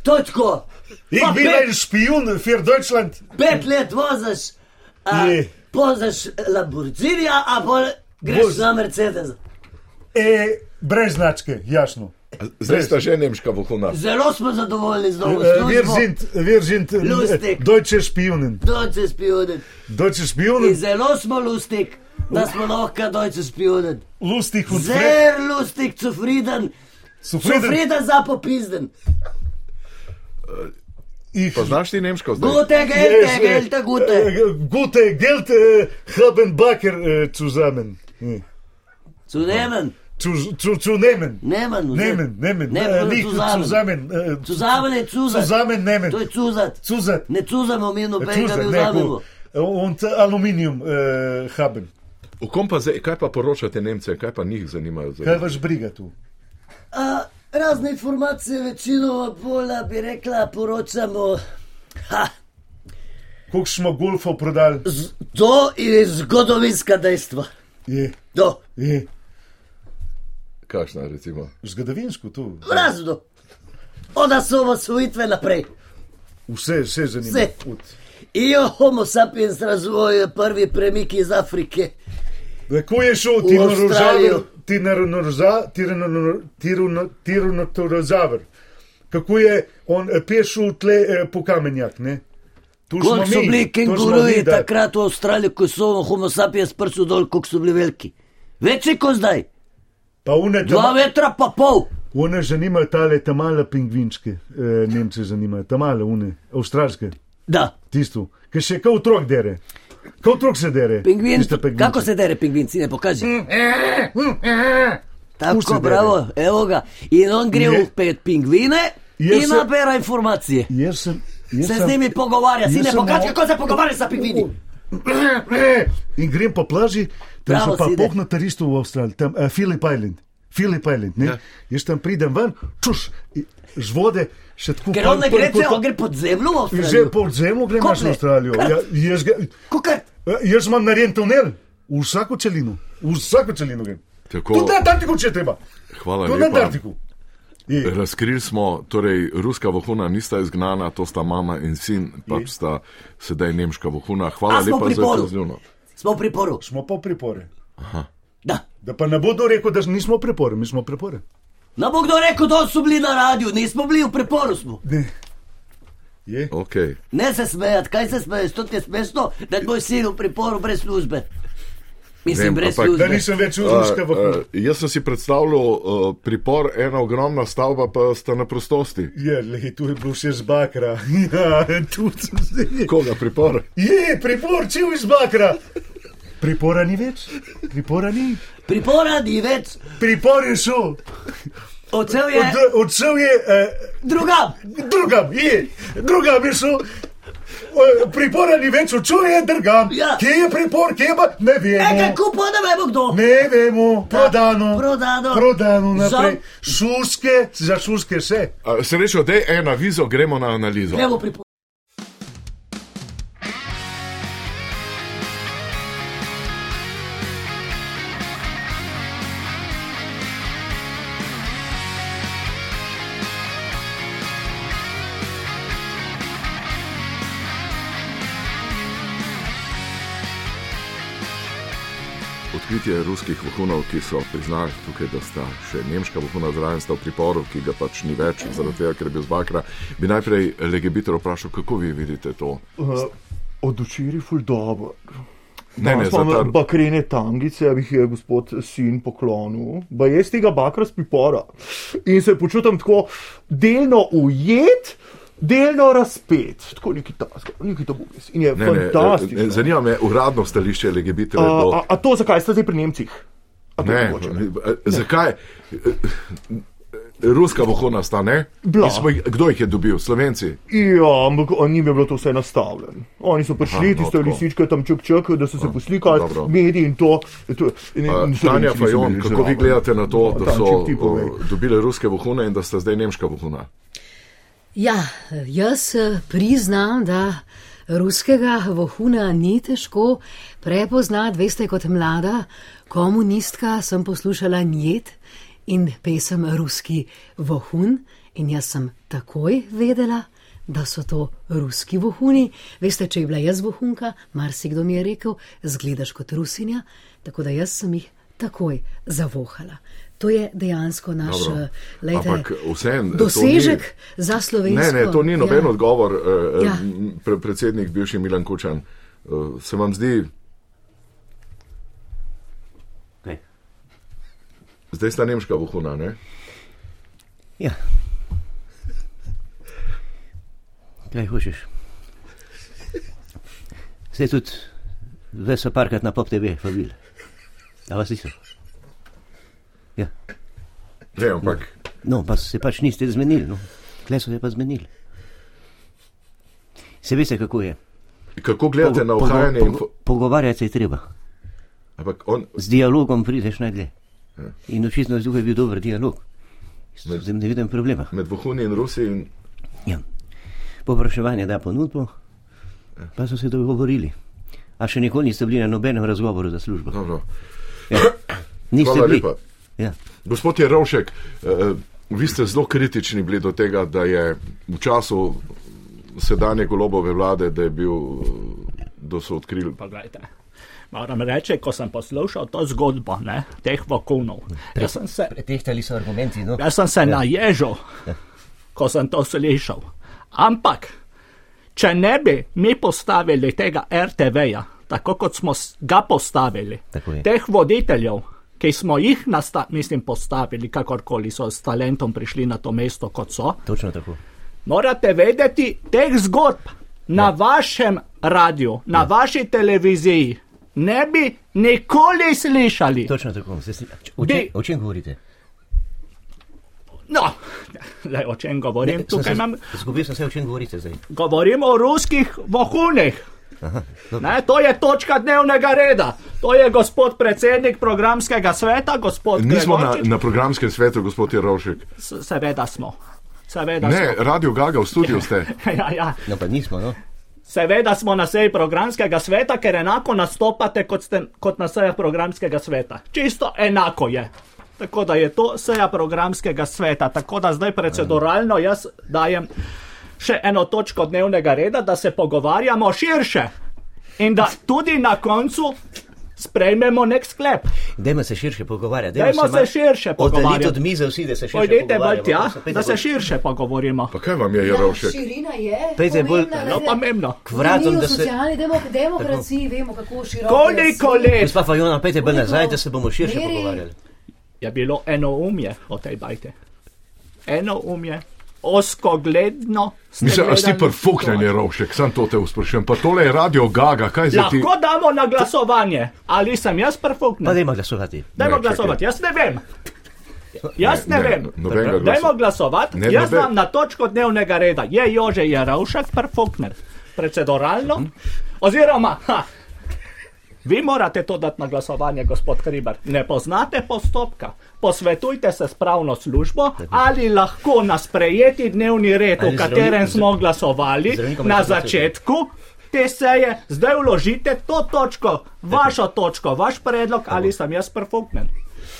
[SPEAKER 4] to je tako.
[SPEAKER 3] Ich
[SPEAKER 4] Pa
[SPEAKER 3] bin
[SPEAKER 4] pet-
[SPEAKER 3] ein Spion für Deutschland.
[SPEAKER 4] Pet let voziš, a,
[SPEAKER 3] Je.
[SPEAKER 4] poznaš Lamborghinija, a bolj greš
[SPEAKER 3] Voz-
[SPEAKER 4] Voz. na Mercedes.
[SPEAKER 3] E, brez značke, jasno.
[SPEAKER 1] Zdaj sta že nemška vohuna.
[SPEAKER 4] Zelo smo zadovoljni z novo
[SPEAKER 3] Eh, Wir
[SPEAKER 4] službo.
[SPEAKER 3] sind, wir sind eh,
[SPEAKER 4] Lustig.
[SPEAKER 3] deutsche Spionen.
[SPEAKER 4] Dojče spionen.
[SPEAKER 3] Deutsche
[SPEAKER 4] In
[SPEAKER 3] Spionen,
[SPEAKER 4] zelo smo lustik, da smo lahko dojče spionen.
[SPEAKER 3] lustig und frech.
[SPEAKER 4] Zelo lustik, cufriden,
[SPEAKER 3] Zufrieden.
[SPEAKER 4] cufriden za popizden.
[SPEAKER 3] Ich,
[SPEAKER 1] Poznaš ti nemško zdaj?
[SPEAKER 4] Gute, gelte, gelte, gute.
[SPEAKER 3] äh, gute Geld äh, haben Backer äh, zusammen. Hm.
[SPEAKER 4] Zunemen,
[SPEAKER 3] Zu, zu, zu nehmen.
[SPEAKER 4] nemen.
[SPEAKER 3] Nehmen, nehmen. Äh,
[SPEAKER 4] Nemen,
[SPEAKER 3] nicht
[SPEAKER 4] zuzamen.
[SPEAKER 3] zusammen. äh, zu-
[SPEAKER 4] Zuzamen je cuzat.
[SPEAKER 3] Zusammen
[SPEAKER 4] To
[SPEAKER 3] nehmen.
[SPEAKER 4] je cuzat.
[SPEAKER 3] Zusatz.
[SPEAKER 4] Ne cuzamo mi nobenega, ne
[SPEAKER 3] ne,
[SPEAKER 4] vzamemo.
[SPEAKER 3] Eh, gut. Und äh, Aluminium äh, haben.
[SPEAKER 1] V kom pa zdaj, kaj pa poročate Nemce, kaj pa njih zanimajo? zdaj?
[SPEAKER 3] Kaj vas briga tu?
[SPEAKER 4] A, razne informacije, večinoma bolj bi rekla, poročamo. Ha,
[SPEAKER 3] Koliko smo golfov prodali?
[SPEAKER 4] z, to je zgodovinska dejstva.
[SPEAKER 3] Je,
[SPEAKER 4] Do,
[SPEAKER 3] je.
[SPEAKER 1] Kakšna recimo?
[SPEAKER 3] Zgodovinsko tu.
[SPEAKER 4] razno. Od so osvojitve naprej.
[SPEAKER 3] Vse, vse zanima.
[SPEAKER 4] Vse.
[SPEAKER 3] Od-
[SPEAKER 4] Ijo homo sapiens razvoj prvi premik iz Afrike.
[SPEAKER 3] Da, Ko je šel
[SPEAKER 4] V Avstralijo.
[SPEAKER 3] Tiranozaver, kako je on eh, pešel tle eh, po kamenjak, ne? Tu
[SPEAKER 4] Koliko so bili
[SPEAKER 3] to smo mi,
[SPEAKER 4] kenguruji
[SPEAKER 3] da.
[SPEAKER 4] takrat v Avstraliji, ko so homo sapiens prsu dol, koliko so bili veliki. Večji kot zdaj,
[SPEAKER 3] Pa une
[SPEAKER 4] dva
[SPEAKER 3] tam,
[SPEAKER 4] metra pa pol.
[SPEAKER 3] one zanimajo tale tamale pingvinčke, eh, Nemce zanimajo, tamale une, avstralske,
[SPEAKER 4] Da,
[SPEAKER 3] tisto, ki še kot otrok dere. Kot otrok se dere.
[SPEAKER 4] pingvin,
[SPEAKER 3] tiste pingvinčke. Mm, eh,
[SPEAKER 4] kako se dere pingvin, si ne pokaže.
[SPEAKER 3] Pusti
[SPEAKER 4] Tako,
[SPEAKER 3] dere.
[SPEAKER 4] bravo, evo ga. In on gre
[SPEAKER 3] Je.
[SPEAKER 4] v pet pingvine
[SPEAKER 3] Jaz
[SPEAKER 4] in
[SPEAKER 3] sem-
[SPEAKER 4] nabira informacije.
[SPEAKER 3] Jaz sem. Jaz
[SPEAKER 4] Se
[SPEAKER 3] sem-
[SPEAKER 4] z njimi pogovarja, si
[SPEAKER 3] jaz
[SPEAKER 4] ne
[SPEAKER 3] sem
[SPEAKER 4] pokaže,
[SPEAKER 3] malo-
[SPEAKER 4] kako se pogovarja sa pingvini.
[SPEAKER 3] In grem po plaži, tam
[SPEAKER 4] Bravo,
[SPEAKER 3] sem pa
[SPEAKER 4] Side.
[SPEAKER 3] pohna turistov v Avstraliji, tam uh, Filip Island. Filip Island, ne? Ja. Jaz tam pridem ven, čuš, i- z vode še tako.
[SPEAKER 4] Ker on ne
[SPEAKER 3] pol-
[SPEAKER 4] gre,
[SPEAKER 3] pol-
[SPEAKER 4] če
[SPEAKER 3] pol-
[SPEAKER 4] on gre pod zemljo, v
[SPEAKER 3] Že
[SPEAKER 4] Avstralijo.
[SPEAKER 3] pod zemljo grem naš v
[SPEAKER 4] Koplje.
[SPEAKER 3] Avstralijo. Ja, jaz, ga-
[SPEAKER 4] Kukaj,
[SPEAKER 3] eh, jaz imam narejen tunel, v vsako celino, v vsako celino grem.
[SPEAKER 1] Tako,
[SPEAKER 3] Tudi na Antarktiku, če je treba.
[SPEAKER 1] hvala
[SPEAKER 3] Tudi na
[SPEAKER 1] lepa.
[SPEAKER 3] Antarktiku. Je.
[SPEAKER 1] Razkrili smo, torej ruska vohuna nista izgnana, to sta mama in sin, pač sta sedaj nemška vohuna. Hvala
[SPEAKER 4] A smo
[SPEAKER 1] lepa
[SPEAKER 4] pri
[SPEAKER 1] za
[SPEAKER 4] polu?
[SPEAKER 1] to zjuno.
[SPEAKER 4] smo v priporu.
[SPEAKER 3] Smo pa v pripore.
[SPEAKER 4] Da.
[SPEAKER 3] Da pa ne bodo rekel, da nismo v pripore, mi smo v pripore.
[SPEAKER 4] Ne bo kdo rekel, da so bili na radiju, nismo bili v priporu. Smo.
[SPEAKER 3] Ne. Je.
[SPEAKER 1] Okay.
[SPEAKER 4] Ne se smejati, kaj se smeješ, to ti je smešno, da je moj sin v priporu brez službe. Mislim,
[SPEAKER 1] Vem,
[SPEAKER 4] Vem, brez
[SPEAKER 1] ampak-
[SPEAKER 3] Da
[SPEAKER 4] službe.
[SPEAKER 3] nisem več uzorska v
[SPEAKER 1] Eh, eh, jaz sem si predstavljal uh, pripor, ena ogromna stavba, pa sta na prostosti.
[SPEAKER 3] Je, le, tu je bil še z bakra. Ja, tu sem zdaj.
[SPEAKER 1] Koga pripor?
[SPEAKER 3] Je, pripor, če je z bakra. Pripora ni več, pripora ni.
[SPEAKER 4] Pripora ni več,
[SPEAKER 3] Pripor je šel.
[SPEAKER 4] Odsev je
[SPEAKER 3] Od, odsev je, eh,
[SPEAKER 4] druga.
[SPEAKER 3] drugam je, drugam je šel. eh, Pripora ni več, čuje drgam.
[SPEAKER 4] Ja.
[SPEAKER 3] Kje je pripor, kje pa ne
[SPEAKER 4] E,
[SPEAKER 3] vemo.
[SPEAKER 4] kako pa ne vemo kdo?
[SPEAKER 3] Ne vemo, prodano.
[SPEAKER 4] prodano.
[SPEAKER 3] Prodano
[SPEAKER 4] Žal.
[SPEAKER 3] naprej. Šuske, za šuske vse.
[SPEAKER 1] A, Srečo, da je ena vizo, gremo na analizo.
[SPEAKER 4] Evo pripo...
[SPEAKER 1] Odkritje ruskih vohunov, ki so priznali tukaj, da sta še nemška vohuna zraven, sta v priporu, ki ga pač ni več, zaradi tega, ker je bil zbakra, bi najprej Legebiter vprašal, kako vi vidite to.
[SPEAKER 5] Uh, od včeraj ful dobro.
[SPEAKER 1] Ne, ne, za
[SPEAKER 5] Spomnim,
[SPEAKER 1] ta
[SPEAKER 5] bakrene tangice, jih je gospod sin poklonil, ba je z tega bakra z pripora. In se počutim tako delno ujet, delno razpet, tako neki task, neki tabubis. In je
[SPEAKER 1] Ne, ne,
[SPEAKER 5] fantastično.
[SPEAKER 1] ne, zanima me uradno stališče LGBT.
[SPEAKER 5] a, a, a to, zakaj ste zdaj pri Nemcih? A to je
[SPEAKER 1] Ne,
[SPEAKER 5] mogoče?
[SPEAKER 1] ne, zakaj? eh, Ruska vohuna sta ne?
[SPEAKER 5] Bila.
[SPEAKER 1] Mi Smo, jih- kdo jih je dobil? Slovenci.
[SPEAKER 5] Ja, ampak on njim je bilo to vse nastavljeno. Oni so
[SPEAKER 1] Aha,
[SPEAKER 5] prišli,
[SPEAKER 1] no,
[SPEAKER 5] tiste
[SPEAKER 1] tako.
[SPEAKER 5] lisičke tam čuk čuk, da so se poslikali,
[SPEAKER 1] dobro.
[SPEAKER 5] mediji in to. to in, in
[SPEAKER 1] A, Eh, Tanja
[SPEAKER 5] Slovenci niso
[SPEAKER 1] Fajon,
[SPEAKER 5] bili
[SPEAKER 1] kako vi
[SPEAKER 5] zraven.
[SPEAKER 1] gledate na to, da so
[SPEAKER 5] Tanček, No, ti povej.
[SPEAKER 1] o, dobile ruske vohune in da sta zdaj nemška vohuna?
[SPEAKER 6] Ja, jaz eh, priznam, da ruskega vohuna ni težko prepoznati. Veste, kot mlada komunistka sem poslušala njet in pesem Ruski vohun in jaz sem takoj vedela, da so to ruski vohuni. Veste, če je bila jaz vohunka, marsikdo mi je rekel, zgledaš kot rusinja, tako da jaz sem jih takoj zavohala. To je dejansko naš
[SPEAKER 1] Dobro.
[SPEAKER 6] eh, lejte,
[SPEAKER 1] Ampak vseeno, to
[SPEAKER 6] dosežek
[SPEAKER 1] ni-
[SPEAKER 6] za
[SPEAKER 1] Ne,
[SPEAKER 6] Slovensko.
[SPEAKER 1] ne, to ni noben ja. odgovor, eh,
[SPEAKER 6] Ja.
[SPEAKER 1] eh, pre- predsednik bivši Milan Kučan. Eh, Se vam zdi,
[SPEAKER 7] Ne.
[SPEAKER 1] zdaj sta nemška vohuna, ne?
[SPEAKER 7] Ja. Kaj hočeš? Se tudi, zdaj so parkrat na pop TV, vabili. A vas niso? Ja.
[SPEAKER 1] Ne, ampak
[SPEAKER 7] No, pa se pač niste zmenili, no. Kle so se pa zmenili. Se veste, kako je.
[SPEAKER 1] kako gledate na ohajanje?
[SPEAKER 7] pogo-
[SPEAKER 1] info-
[SPEAKER 7] pogovarjati se je treba.
[SPEAKER 1] Ampak on, Ja.
[SPEAKER 7] Z dialogom prideš najdlje. In očitno je tukaj bil dober dialog. Z tem ne vidim problema.
[SPEAKER 1] med vohuni in Rusi in
[SPEAKER 7] Ja. Popraševanje da ponudbo,
[SPEAKER 1] Ja.
[SPEAKER 7] pa so se dogovorili. A še nikoli niste bili na nobenem razgovoru za službo. Ja.
[SPEAKER 1] dobro.
[SPEAKER 7] Niste
[SPEAKER 1] Hvala
[SPEAKER 7] bili.
[SPEAKER 1] lepa.
[SPEAKER 7] Ja.
[SPEAKER 1] Gospod Jerovšek, eh, vi ste zelo kritični bili do tega, da je v času sedanje golobove vlade, da je bil, eh, da so odkrili.
[SPEAKER 8] Poglejte. Moram reči, ko sem poslušal to zgodbo ne, teh vokunov, jaz sem se,
[SPEAKER 7] Pretehtali so argumenti. No.
[SPEAKER 8] jaz sem se naježil,
[SPEAKER 7] Ja,
[SPEAKER 8] ko sem to slišal. Ampak, če ne bi mi postavili tega RTV-ja, tako kot smo s- ga postavili,
[SPEAKER 7] Tako je.
[SPEAKER 8] teh voditeljev, ki smo jih nasta, mislim, postavili, kakorkoli so s talentom prišli na to mesto, kot so,
[SPEAKER 7] Točno tako.
[SPEAKER 8] Morate vedeti teh zgodb na ja. vašem radiju, na ja. vaši televiziji. Ne bi nikoli slišali.
[SPEAKER 7] Točno tako. Se, se, o, čem,
[SPEAKER 8] Bi-
[SPEAKER 7] o čem govorite?
[SPEAKER 8] No, zdaj, o čem govorim? Ne,
[SPEAKER 7] sem
[SPEAKER 8] Tukaj
[SPEAKER 7] se,
[SPEAKER 8] imam,
[SPEAKER 7] Zgubil sem se, o čem govorite zdaj.
[SPEAKER 8] govorim o ruskih vohunih.
[SPEAKER 7] dobro.
[SPEAKER 8] Ne, to je točka dnevnega reda. To je gospod predsednik programskega sveta, gospod
[SPEAKER 1] Nismo na,
[SPEAKER 8] Gregorčič.
[SPEAKER 1] na programskem svetu, gospod Jerovšek.
[SPEAKER 8] S- Seveda smo. Seveda
[SPEAKER 1] Ne, radio Gaga, v studiu ste.
[SPEAKER 8] smo. Ja, ja.
[SPEAKER 7] No, pa nismo. No.
[SPEAKER 8] Seveda smo na seji programskega sveta, ker enako nastopate kot, ste, kot na sejah programskega sveta. Čisto enako je. Tako da je to seja programskega sveta. Tako da zdaj proceduralno jaz dajem še eno točko dnevnega reda, da se pogovarjamo širše in da tudi na koncu sprejmemo nek sklep.
[SPEAKER 7] Dajmo se širše pogovarjati.
[SPEAKER 8] Dajmo se
[SPEAKER 7] malo
[SPEAKER 8] širše
[SPEAKER 7] Oddaljiti
[SPEAKER 8] pogovarjati.
[SPEAKER 7] od mize vsi, da se širše
[SPEAKER 8] Pojdite bolj
[SPEAKER 7] pogovarjamo.
[SPEAKER 8] tja,
[SPEAKER 7] Prosim, pojdite
[SPEAKER 8] da se
[SPEAKER 7] bolj-
[SPEAKER 8] širše pogovorimo.
[SPEAKER 1] Pa kaj vam je Jerovšek?
[SPEAKER 6] Ja, Širina je.
[SPEAKER 7] Pejte bolj-
[SPEAKER 6] pomembna,
[SPEAKER 8] No,
[SPEAKER 6] veste.
[SPEAKER 8] pomembno.
[SPEAKER 7] K vratom,
[SPEAKER 6] Mi v
[SPEAKER 7] da se.
[SPEAKER 6] socialni demok demokraciji vemo, kako široko. je
[SPEAKER 8] Koliko
[SPEAKER 6] svet.
[SPEAKER 8] let
[SPEAKER 7] Gospa Fajona, pejte bolj
[SPEAKER 6] Koliko
[SPEAKER 7] nazaj, da se bomo širše
[SPEAKER 6] meri?
[SPEAKER 7] pogovarjali.
[SPEAKER 8] je Ja bilo enoumje o tej bajti. Enoumje, oskogledno. ste
[SPEAKER 1] Mislim, a si
[SPEAKER 8] gledali
[SPEAKER 1] prfuknen
[SPEAKER 8] to.
[SPEAKER 1] Jerovšek, sam to te usprašujem. Pa tole je radio Gaga, kaj zdaj ti?
[SPEAKER 8] Lahko damo na glasovanje, ali sem jaz
[SPEAKER 7] Pa
[SPEAKER 8] prfuknen.
[SPEAKER 7] dajmo glasovati.
[SPEAKER 8] Dajmo
[SPEAKER 1] Ne, čakaj.
[SPEAKER 8] glasovati, jaz ne vem. Jaz ne,
[SPEAKER 1] Ne,
[SPEAKER 8] ne vem.
[SPEAKER 1] nobenega glasu.
[SPEAKER 8] Dajmo glasovati.
[SPEAKER 1] Ne,
[SPEAKER 8] Jaz
[SPEAKER 1] noben-
[SPEAKER 8] imam na točko dnevnega reda. Je Jože Jarovšek perfokner.
[SPEAKER 1] Mhm.
[SPEAKER 8] Predsedoralno. Oziroma, ha, vi morate to dati na glasovanje, gospod Kriber. Ne poznate postopka. Posvetujte se s pravno službo, ali lahko na sprejeti dnevni red,
[SPEAKER 7] Ali
[SPEAKER 8] v katerem
[SPEAKER 7] zdravnik-
[SPEAKER 8] smo glasovali
[SPEAKER 7] zdravnikom
[SPEAKER 8] na
[SPEAKER 7] je to
[SPEAKER 8] začetku. Te seje, zdaj vložite to točko, vašo točko, vaš predlog, ali sem jaz perfoknen.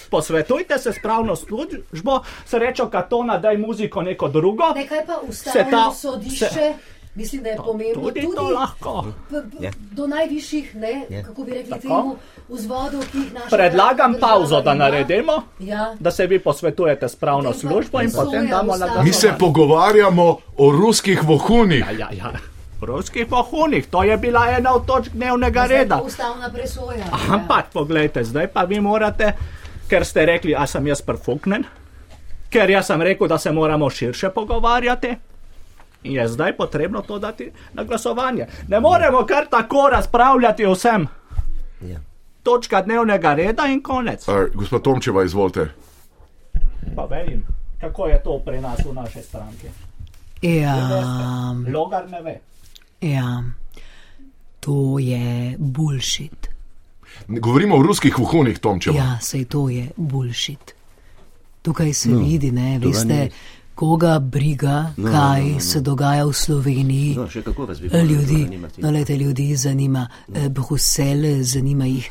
[SPEAKER 8] Posvetujte se s pravno službo, srečo Katona, daj muziko neko drugo.
[SPEAKER 6] Nekaj pa
[SPEAKER 8] Se ta-
[SPEAKER 6] ustavno sodišče,
[SPEAKER 8] se-
[SPEAKER 6] mislim, da je pomembno
[SPEAKER 8] Tudi to lahko.
[SPEAKER 6] p- p-
[SPEAKER 7] Ja.
[SPEAKER 6] do najvišjih, ne,
[SPEAKER 7] Ja.
[SPEAKER 6] kako bi rekli, temu vzvodov, ki jih naša
[SPEAKER 8] Predlagam
[SPEAKER 6] država
[SPEAKER 8] pauzo, da
[SPEAKER 6] ima.
[SPEAKER 8] naredimo,
[SPEAKER 6] Ja.
[SPEAKER 8] da se vi posvetujete s pravno
[SPEAKER 6] Potem pa
[SPEAKER 8] službo in
[SPEAKER 6] presoja
[SPEAKER 8] potem damo na
[SPEAKER 6] ustavna.
[SPEAKER 1] Mi se
[SPEAKER 8] glasovanje.
[SPEAKER 1] pogovarjamo o ruskih vohunih.
[SPEAKER 8] Ja, ja, ja. V ruskih pohunih, to je bila ena od točk dnevnega
[SPEAKER 6] Zdaj
[SPEAKER 8] reda.
[SPEAKER 6] pa Ustavna presoja.
[SPEAKER 8] Ampak poglejte, zdaj pa vi morate, ker ste rekli, a sem jaz perfuknen, ker jaz sem rekel, da se moramo širše pogovarjati. In je zdaj potrebno to dati na glasovanje. Ne moremo kar tako razpravljati o vsem.
[SPEAKER 7] Ja.
[SPEAKER 8] Točka dnevnega reda in konec.
[SPEAKER 1] Eh, Gospod Tomčeva, izvolite.
[SPEAKER 8] Pa vem, kako je to pri nas v naše stranke.
[SPEAKER 9] Ja,
[SPEAKER 8] Logar ne ve.
[SPEAKER 9] ja, to je bullshit.
[SPEAKER 1] Govorimo o ruskih vohunih, Tomčeva.
[SPEAKER 9] Ja, sej to je bullshit. Tukaj se no, vidi, ne, veste,
[SPEAKER 7] ni.
[SPEAKER 9] koga briga, no, kaj no, no, no. se dogaja v Sloveniji.
[SPEAKER 7] No, še kako vas bi moralo
[SPEAKER 9] E, Ljudi,
[SPEAKER 7] zanimati.
[SPEAKER 9] no, lete, ljudi zanima, eh, Brusel zanima jih,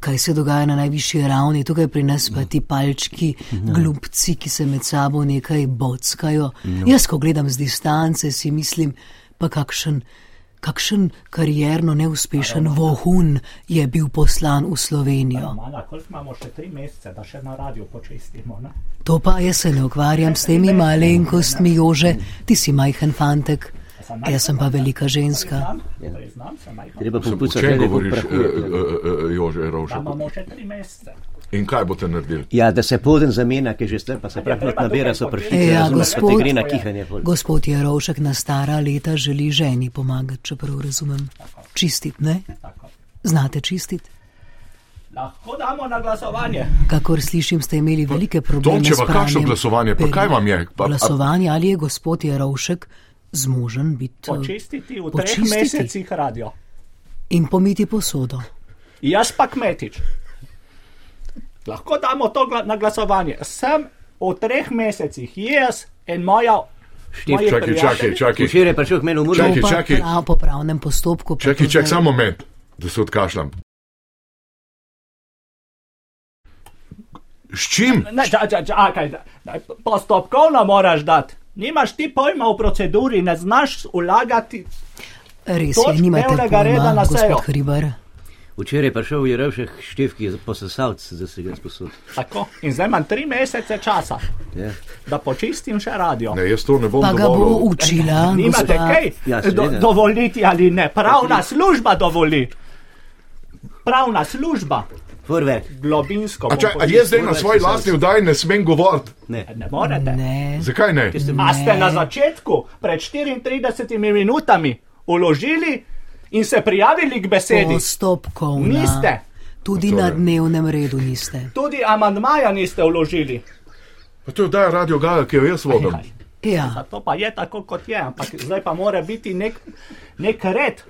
[SPEAKER 9] kaj se dogaja na najvišji ravni, tukaj pri nas pa ti palčki, glupci, ki se med sabo nekaj bockajo. Jaz, ko gledam z distance, si mislim, pa kakšen. Kakšen karjerno neuspešen vohun je bil poslan v Slovenijo?
[SPEAKER 8] Mana, koliko imamo še tri mesece, da še na radiju počistimo? Ne?
[SPEAKER 9] To pa jaz se ne ukvarjam s temi malenkostmi, Jože, ti si majhen fantek, jaz sem pa velika ženska.
[SPEAKER 8] Priznam, priznam se, majhen.
[SPEAKER 7] Ja. Treba
[SPEAKER 1] Sem, o
[SPEAKER 7] popucati,
[SPEAKER 1] čem
[SPEAKER 7] da ne bo
[SPEAKER 1] govoriš, eh,
[SPEAKER 7] prahu.
[SPEAKER 1] eh, eh, Jože
[SPEAKER 8] Da
[SPEAKER 1] Rovšek?
[SPEAKER 8] imamo še tri mesece.
[SPEAKER 1] In kaj boste naredili?
[SPEAKER 7] Ja, da se poden zamenja, ki je že zdaj, pa se
[SPEAKER 8] treba
[SPEAKER 7] prahmatna bera
[SPEAKER 8] tukaj
[SPEAKER 7] so
[SPEAKER 8] potem-
[SPEAKER 7] pršice,
[SPEAKER 9] Ja,
[SPEAKER 7] razumeš, ko
[SPEAKER 9] gospod-
[SPEAKER 7] te gre na kihanje. pol.
[SPEAKER 9] Gospod Jerovšek na stara leta želi ženi pomagati, če prav razumem. Čistit, ne?
[SPEAKER 8] Tako.
[SPEAKER 9] Znate čistit?
[SPEAKER 8] Lahko damo na glasovanje.
[SPEAKER 9] Kakor slišim, ste imeli velike probleme.
[SPEAKER 1] Tomčeva,
[SPEAKER 9] s pranjem
[SPEAKER 1] kakšno glasovanje? Pa
[SPEAKER 9] perja.
[SPEAKER 1] kaj vam je? Pa- a-
[SPEAKER 9] Glasovanje, ali je gospod Jerovšek zmožen biti eh,
[SPEAKER 8] Počistiti v treh
[SPEAKER 9] Počistiti?
[SPEAKER 8] mesecih radio.
[SPEAKER 9] in pomiti posodo.
[SPEAKER 8] Jaz pa kmetič. Lahko damo to gla na glasovanje. Sem v treh mesecih, jaz in moja. moji
[SPEAKER 1] Čakaj, čakaj,
[SPEAKER 8] prijatelji.
[SPEAKER 1] čakaj.
[SPEAKER 7] Včeraj je prišel k meni v Mursko.
[SPEAKER 1] Čakaj,
[SPEAKER 9] To pa
[SPEAKER 1] čakaj.
[SPEAKER 9] prav- Po pravnem postopku. pa
[SPEAKER 1] Čakaj,
[SPEAKER 9] to
[SPEAKER 1] čakaj,
[SPEAKER 9] zdaj-
[SPEAKER 1] samo moment, da se odkašljam. S čim?
[SPEAKER 8] Ne, ča- ča- čakaj, da- daj, postopkovno moraš dati. Nimaš ti pojma o proceduri, ne znaš vlagati.
[SPEAKER 9] Res je,
[SPEAKER 8] točk
[SPEAKER 9] nimate
[SPEAKER 8] dnevnega reda na
[SPEAKER 9] pojma,
[SPEAKER 8] sejo.
[SPEAKER 9] gospod Hribar.
[SPEAKER 7] Včeraj je prišel Jerovšek števki posesalc, da se ga sposod.
[SPEAKER 8] Tako. In zdaj imam tri mesece časa,
[SPEAKER 7] Ja.
[SPEAKER 8] da počistim še radio.
[SPEAKER 1] Ne, jaz to ne bom
[SPEAKER 9] Pa ga bo
[SPEAKER 1] dovolil.
[SPEAKER 9] učila,
[SPEAKER 8] Nimate
[SPEAKER 9] gospa.
[SPEAKER 8] kaj
[SPEAKER 7] Ja,
[SPEAKER 8] do,
[SPEAKER 7] seveda.
[SPEAKER 8] dovoliti ali ne? Pravna služba dovoli. Pravna služba,
[SPEAKER 7] Forver,
[SPEAKER 8] globinsko.
[SPEAKER 1] A
[SPEAKER 8] bom
[SPEAKER 1] čakaj, a
[SPEAKER 8] povedal.
[SPEAKER 1] jaz zdaj na svoji lastni vdaji ne smem govoriti?
[SPEAKER 7] ne.
[SPEAKER 8] Ne morete.
[SPEAKER 9] Ne,
[SPEAKER 1] Zakaj ne?
[SPEAKER 8] A ste na začetku, pred 34 minutami, uložili in se prijavili k besedi?
[SPEAKER 9] postopkovno.
[SPEAKER 8] Niste.
[SPEAKER 9] Tudi
[SPEAKER 7] Torej.
[SPEAKER 9] na dnevnem redu niste.
[SPEAKER 8] Tudi amandmaja niste uložili.
[SPEAKER 1] Pa to je vdaja Radio Gaga, ki jo jaz vodim.
[SPEAKER 8] Aj,
[SPEAKER 9] Ja,
[SPEAKER 8] To pa je tako, kot je, ampak zdaj pa mora biti nek, nek red,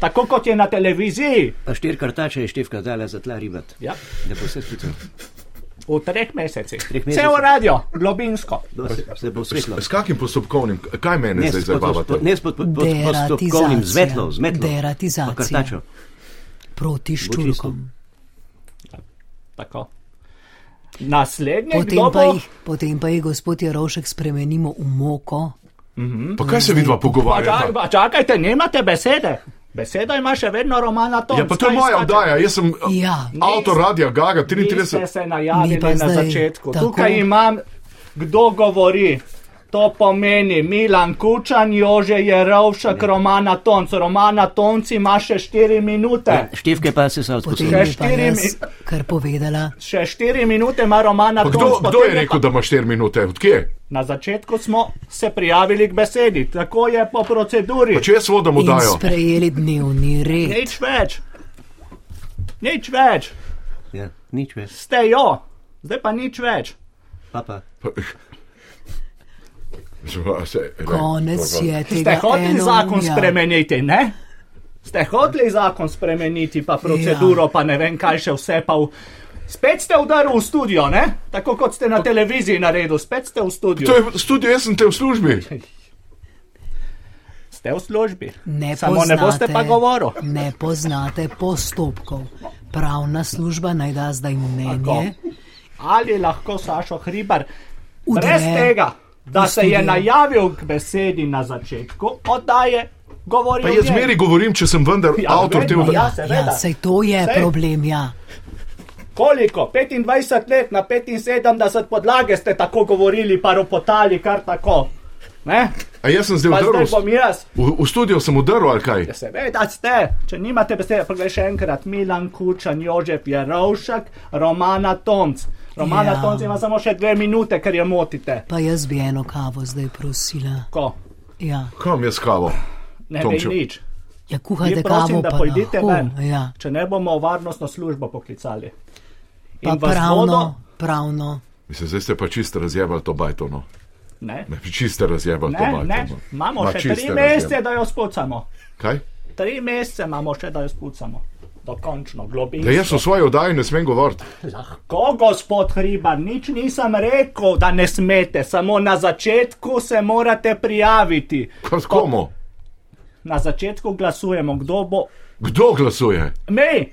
[SPEAKER 8] tako kot je na televiziji.
[SPEAKER 7] Pa štir kartače je števka dala za tla ribat.
[SPEAKER 8] Ja.
[SPEAKER 7] Da bo vse svetlo.
[SPEAKER 8] V treh mesecih.
[SPEAKER 7] Treh mesecih.
[SPEAKER 8] Cel radio, globinsko.
[SPEAKER 7] Da se, se bo
[SPEAKER 1] S,
[SPEAKER 7] svetlo.
[SPEAKER 1] s kakim postopkovnim, kaj mene zdaj zabavate?
[SPEAKER 7] ne s pod, pod, pod
[SPEAKER 9] Deratizacija.
[SPEAKER 7] postopkovnim zvetlo, zmetlo.
[SPEAKER 9] Deratizacija.
[SPEAKER 7] Pa kartačo.
[SPEAKER 9] proti ščurkom.
[SPEAKER 8] Tako. Naslednje,
[SPEAKER 9] Potem
[SPEAKER 8] kdo
[SPEAKER 9] pa,
[SPEAKER 8] bo?
[SPEAKER 9] jih, potem pa jih gospod Jarošek spremenimo v moko.
[SPEAKER 1] Mhm.
[SPEAKER 9] Mhm.
[SPEAKER 1] Pa kaj se vidva
[SPEAKER 8] Pa čak-
[SPEAKER 1] pogovarjata?
[SPEAKER 8] pa Čakajte, nemate besede. Besedo ima še vedno Romana Tomska.
[SPEAKER 1] Ja, pa to je moja vdaja, jaz sem eh,
[SPEAKER 9] Ja.
[SPEAKER 1] avtor Radio Gaga
[SPEAKER 8] Vi ste
[SPEAKER 1] 33.
[SPEAKER 8] se najavili
[SPEAKER 9] Mi pa
[SPEAKER 8] na
[SPEAKER 9] zdaj
[SPEAKER 8] začetku.
[SPEAKER 9] tako.
[SPEAKER 8] Tukaj imam, kdo govori. To pomeni Milan Kučan, Jože Jerovšek, Romana Tonc. Romana Tonc ima še 4 minute.
[SPEAKER 7] Števke pa se sam
[SPEAKER 9] Potem
[SPEAKER 7] sposod.
[SPEAKER 8] Še
[SPEAKER 9] je pa
[SPEAKER 8] štiri
[SPEAKER 9] jaz kar povedala.
[SPEAKER 8] Še 4 minute ima Romana
[SPEAKER 1] Pa
[SPEAKER 8] Tonc.
[SPEAKER 1] kdo, kdo
[SPEAKER 8] potem
[SPEAKER 1] je
[SPEAKER 8] pa-
[SPEAKER 1] rekel, da imaš 4 minute? Odkje?
[SPEAKER 8] Na začetku smo se prijavili k besedi. Tako je po proceduri.
[SPEAKER 1] Pa če jaz vodim
[SPEAKER 9] In
[SPEAKER 1] vdajo?
[SPEAKER 9] sprejeli dnevni red.
[SPEAKER 8] Nič več. Nič več.
[SPEAKER 7] Ja, nič več.
[SPEAKER 8] Ste jo. Zdaj pa nič več.
[SPEAKER 7] Papa.
[SPEAKER 9] Konec je
[SPEAKER 8] Ste
[SPEAKER 9] tega. ja.
[SPEAKER 8] hoteli zakon
[SPEAKER 9] enomija.
[SPEAKER 8] spremeniti, ne? Ste hoteli zakon spremeniti, pa proceduro, ja. pa ne vem kaj še vse. Pa v... Spet ste udarili v studio, ne? Tako kot ste na televiziji naredili, spet ste v studiu.
[SPEAKER 1] To je studio, jaz sem te v službi.
[SPEAKER 8] Ste v službi.
[SPEAKER 9] Ne
[SPEAKER 8] Samo ne boste pa govoril.
[SPEAKER 9] Ne poznate postopkov. Pravna služba naj da zdaj mnenje.
[SPEAKER 8] Ali lahko Sašo Hribar,
[SPEAKER 9] Udre
[SPEAKER 8] brez tega, da
[SPEAKER 9] v
[SPEAKER 8] se je
[SPEAKER 9] studio.
[SPEAKER 8] najavil k besedi na začetku oddaje, govori
[SPEAKER 1] Pa
[SPEAKER 8] o
[SPEAKER 1] jaz
[SPEAKER 8] njej?
[SPEAKER 1] zmeri govorim, če sem vendar
[SPEAKER 8] Ja,
[SPEAKER 1] avtor te
[SPEAKER 8] vedno,
[SPEAKER 1] oddaje.
[SPEAKER 8] ja.
[SPEAKER 9] Ja,
[SPEAKER 8] seveda.
[SPEAKER 9] ja, sej to je
[SPEAKER 8] Sej.
[SPEAKER 9] problem, ja.
[SPEAKER 8] Koliko? 25 let na 75 podlage ste tako govorili, pa ropotali kar tako. Ne?
[SPEAKER 1] A jaz sem zdaj
[SPEAKER 8] Pa zdaj
[SPEAKER 1] udaril.
[SPEAKER 8] bom jaz.
[SPEAKER 1] V, v studio sem udaril ali kaj?
[SPEAKER 8] Ja, seveda ste, če nimate besede, poglej še enkrat, Milan Kučan, Jožef Jarovšek, Romana Tomc. Romana ja.
[SPEAKER 9] Ja.
[SPEAKER 8] Tomc ima samo še dve minute, ker jo motite.
[SPEAKER 9] Pa jaz bi eno kavo zdaj prosila.
[SPEAKER 8] Ko?
[SPEAKER 9] Ja,
[SPEAKER 1] Kam jaz kavo?
[SPEAKER 8] Ne
[SPEAKER 1] Tomčev.
[SPEAKER 8] vem nič.
[SPEAKER 9] ja
[SPEAKER 8] Vi
[SPEAKER 9] kuhajte
[SPEAKER 8] prosim,
[SPEAKER 9] kavo,
[SPEAKER 8] da
[SPEAKER 9] pa
[SPEAKER 8] pojdite ven,
[SPEAKER 9] lahko. Ja.
[SPEAKER 8] če ne bomo varnostno službo poklicali.
[SPEAKER 9] Pa
[SPEAKER 8] In vas bodo-
[SPEAKER 9] pravno, pravno.
[SPEAKER 1] Mislim, zdaj ste pa čisto razjebali to bajtono.
[SPEAKER 8] Ne,
[SPEAKER 1] Ne, čisto razjebali to
[SPEAKER 8] ne,
[SPEAKER 1] bajtono.
[SPEAKER 8] ne. imamo
[SPEAKER 1] Ma,
[SPEAKER 8] še
[SPEAKER 1] čisto
[SPEAKER 8] tri
[SPEAKER 1] razjebali.
[SPEAKER 8] mesece, da jo spucamo.
[SPEAKER 1] Kaj?
[SPEAKER 8] Tri mesece imamo še, da jo spucamo. Dokončno, globinsko.
[SPEAKER 1] Da jaz v svoji oddaji ne smem govoriti.
[SPEAKER 8] Lahko, gospod Hribar, nič nisem rekel, da ne smete, samo na začetku se morate prijaviti.
[SPEAKER 1] Kaj s komu?
[SPEAKER 8] Na začetku glasujemo, kdo bo.
[SPEAKER 1] Kdo glasuje?
[SPEAKER 8] Mi,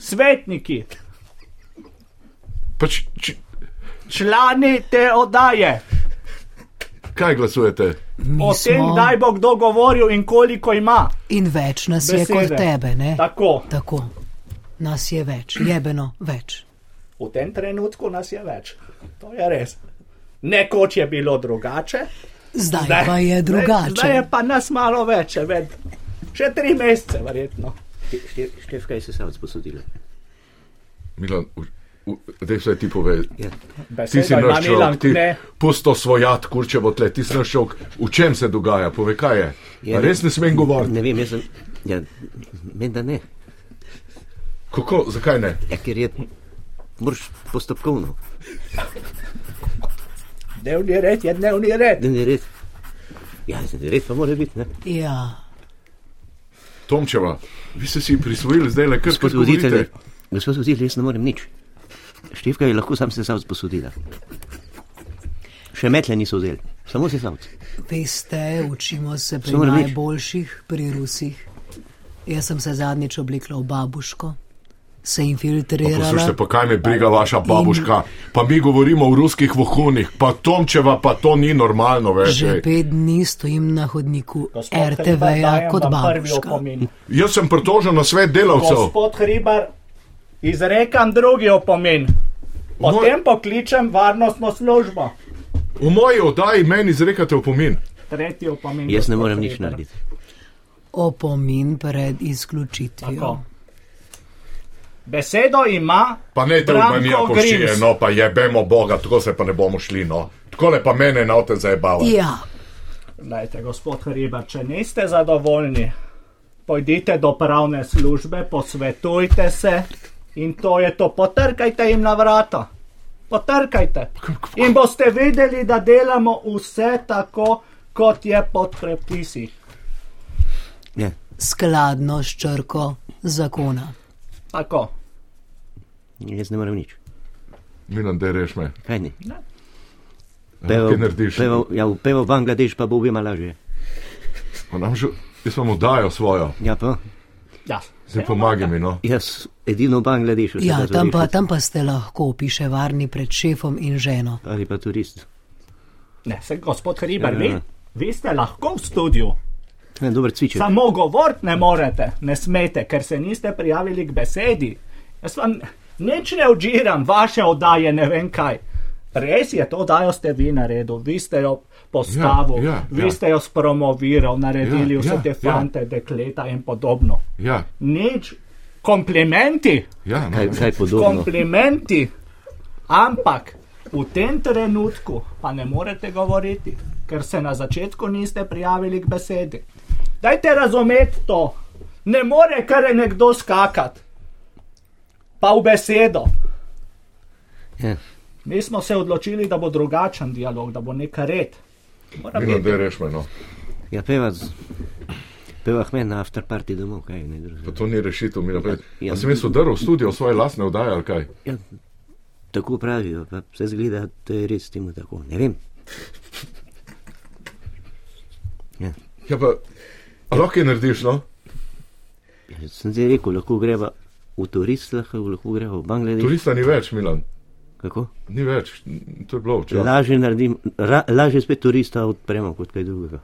[SPEAKER 8] svetniki,
[SPEAKER 1] Pa č, č,
[SPEAKER 8] člani te oddaje,
[SPEAKER 1] kaj glasujete?
[SPEAKER 9] Mi
[SPEAKER 8] o tem,
[SPEAKER 9] smo
[SPEAKER 8] kdaj bo kdo govoril in koliko ima.
[SPEAKER 9] in več nas je
[SPEAKER 8] Besede.
[SPEAKER 9] kot tebe, ne?
[SPEAKER 8] Tako,
[SPEAKER 9] Tako. Nas je več, jebeno več.
[SPEAKER 8] v tem trenutku nas je več. To je res. Nekoč je bilo drugače.
[SPEAKER 9] Zdaj pa je drugače.
[SPEAKER 8] Zdaj je pa nas malo več, še ved, še tri mesece, verjetno.
[SPEAKER 7] Šte- Šte- Štefka je sesalc posodila.
[SPEAKER 1] Milan, u- u- daj vse ti povej.
[SPEAKER 7] Ja.
[SPEAKER 1] Ti si
[SPEAKER 8] Besedo ima
[SPEAKER 1] naš
[SPEAKER 8] Milan,
[SPEAKER 1] človek, ti
[SPEAKER 8] ne.
[SPEAKER 1] pusto svojat, kurčevo tle, ti si naš človek. V čem se dogaja? Povej, kaj je?
[SPEAKER 7] Ja,
[SPEAKER 1] A Res ne smem govoriti.
[SPEAKER 7] Ne vem, jaz sem. Ja, menda ne.
[SPEAKER 1] Kako, zakaj ne?
[SPEAKER 7] Ja, ker je. Moraš postopkovno.
[SPEAKER 8] Dnevni red je dnevni red.
[SPEAKER 7] Dnevni red. Ja, dnevni red pa mora biti, ne?
[SPEAKER 9] Ja,
[SPEAKER 1] Tomčeva, vi ste si prisvojili zdaj le kar
[SPEAKER 7] Gospod
[SPEAKER 1] kot
[SPEAKER 7] voditelj,
[SPEAKER 1] voditelj.
[SPEAKER 7] gospod voditelj, jaz ne morem nič. Števka je lahko sam sesalc posodila. Še metle niso vzeli, samo sesalc.
[SPEAKER 9] veste, učimo se pri
[SPEAKER 7] Samo ne veš.
[SPEAKER 9] najboljših, pri Rusih. Jaz sem se zadnjič oblekla v babuško, se infiltrirala.
[SPEAKER 1] Poslušajte, pa kaj me briga vaša babuška? Pa mi govorimo o ruskih vohunih, pa Tomčeva, pa to ni normalno več.
[SPEAKER 9] Že
[SPEAKER 1] ej.
[SPEAKER 9] pet dni stojim na hodniku
[SPEAKER 8] Gospod Hribar,
[SPEAKER 9] RTV-ja
[SPEAKER 8] dajem
[SPEAKER 9] kot
[SPEAKER 8] vam prvi
[SPEAKER 9] babuška.
[SPEAKER 8] opomin.
[SPEAKER 1] Jaz sem pritožen na svet delavcev.
[SPEAKER 8] Gospod Hribar, izrekam drugi opomin. Potem pokličem varnostno službo.
[SPEAKER 1] V moji oddaji meni izrekate opomin.
[SPEAKER 8] Tretji opomin.
[SPEAKER 7] Jaz ne
[SPEAKER 8] gospod
[SPEAKER 7] morem nič
[SPEAKER 8] Hribar.
[SPEAKER 7] narediti.
[SPEAKER 9] Opomin pred izključitvijo.
[SPEAKER 8] Tako. Besedo ima
[SPEAKER 1] Pa ne te v
[SPEAKER 8] Branko
[SPEAKER 1] manjako
[SPEAKER 8] Grims.
[SPEAKER 1] šije, no pa jebemo Boga, tako se pa ne bomo šli, no. Tako le pa mene na ote zabavati.
[SPEAKER 9] Ja,
[SPEAKER 8] Dajte, gospod Hribar, če niste zadovoljni, pojdite do pravne službe, posvetujte se in to je to. Potrkajte jim na vrata. Potrkajte. In boste videli, da delamo vse tako, kot je pod predpisi.
[SPEAKER 7] Ja.
[SPEAKER 9] skladno s črko zakona.
[SPEAKER 8] Tako.
[SPEAKER 7] Jaz ne morem nič.
[SPEAKER 1] Milan, da reš me.
[SPEAKER 7] Kaj ni?
[SPEAKER 1] Evo, Kaj narediš?
[SPEAKER 7] Peval, ja, v pevo Bangladeš pa bo objema lažje.
[SPEAKER 1] Pa nam Že, jaz vam oddajo svojo,
[SPEAKER 7] Ja, pa
[SPEAKER 8] Ja.
[SPEAKER 1] zdaj pomagaj mi, no.
[SPEAKER 7] jaz edino v Bangladešu. se
[SPEAKER 9] Ja,
[SPEAKER 7] da
[SPEAKER 9] tam pa,
[SPEAKER 7] zorišem.
[SPEAKER 9] tam pa ste lahko, piše varni pred šefom in ženo.
[SPEAKER 7] Ali pa turist.
[SPEAKER 8] Ne, se gospod Hribar,
[SPEAKER 7] Ja, ja,
[SPEAKER 8] vi,
[SPEAKER 7] ja.
[SPEAKER 8] vi ste lahko v studiu,
[SPEAKER 7] Ne, dober cviček.
[SPEAKER 8] samo govoriti ne morete, ne smete, ker se niste prijavili k besedi. Jaz vam nič ne odžiram, vaše oddaje ne vem kaj. Res je, to oddajo ste vi naredili, vi ste jo postavili,
[SPEAKER 1] Ja, ja,
[SPEAKER 8] vi
[SPEAKER 1] ja.
[SPEAKER 8] ste jo spromovirali, naredili
[SPEAKER 1] Ja,
[SPEAKER 8] vse
[SPEAKER 1] ja,
[SPEAKER 8] te
[SPEAKER 1] ja.
[SPEAKER 8] fante, dekleta in podobno.
[SPEAKER 1] Ja,
[SPEAKER 8] Nič, komplimenti.
[SPEAKER 1] ja, no.
[SPEAKER 7] Kaj, kaj podobno.
[SPEAKER 8] komplimenti, ampak v tem trenutku pa ne morete govoriti, ker se na začetku niste prijavili k besedi. Dajte razumeti to, ne more kar nekdo skakati, pa v besedo.
[SPEAKER 7] Ja.
[SPEAKER 8] Mi smo se odločili, da bo drugačen dialog, da bo neka red. Mora
[SPEAKER 1] Milo,
[SPEAKER 8] biti.
[SPEAKER 1] da reš me, no.
[SPEAKER 7] Ja, peva, z- peva Ahmed na afterparti domov, kaj ne
[SPEAKER 1] Pa
[SPEAKER 7] drugega.
[SPEAKER 1] to ni rešitev, Milo. Pa,
[SPEAKER 7] Ja.
[SPEAKER 1] ja. Sem jaz udaril v studio svoje lastne vdaje ali kaj?
[SPEAKER 7] Ja, tako pravijo, pa se zgleda, da je res temu tako. Ne vem. Ja,
[SPEAKER 1] Ja, pa a lahko je narediš, no?
[SPEAKER 7] ja, sem zdaj rekel, lahko greva v turist, lahko, lahko greva v Bangladeš.
[SPEAKER 1] Turista ni več, Milan.
[SPEAKER 7] Kako?
[SPEAKER 1] Ni več, to je bilo včasih.
[SPEAKER 7] Lažje naredim, ra, lažje spet turista odpremo kot kaj drugega.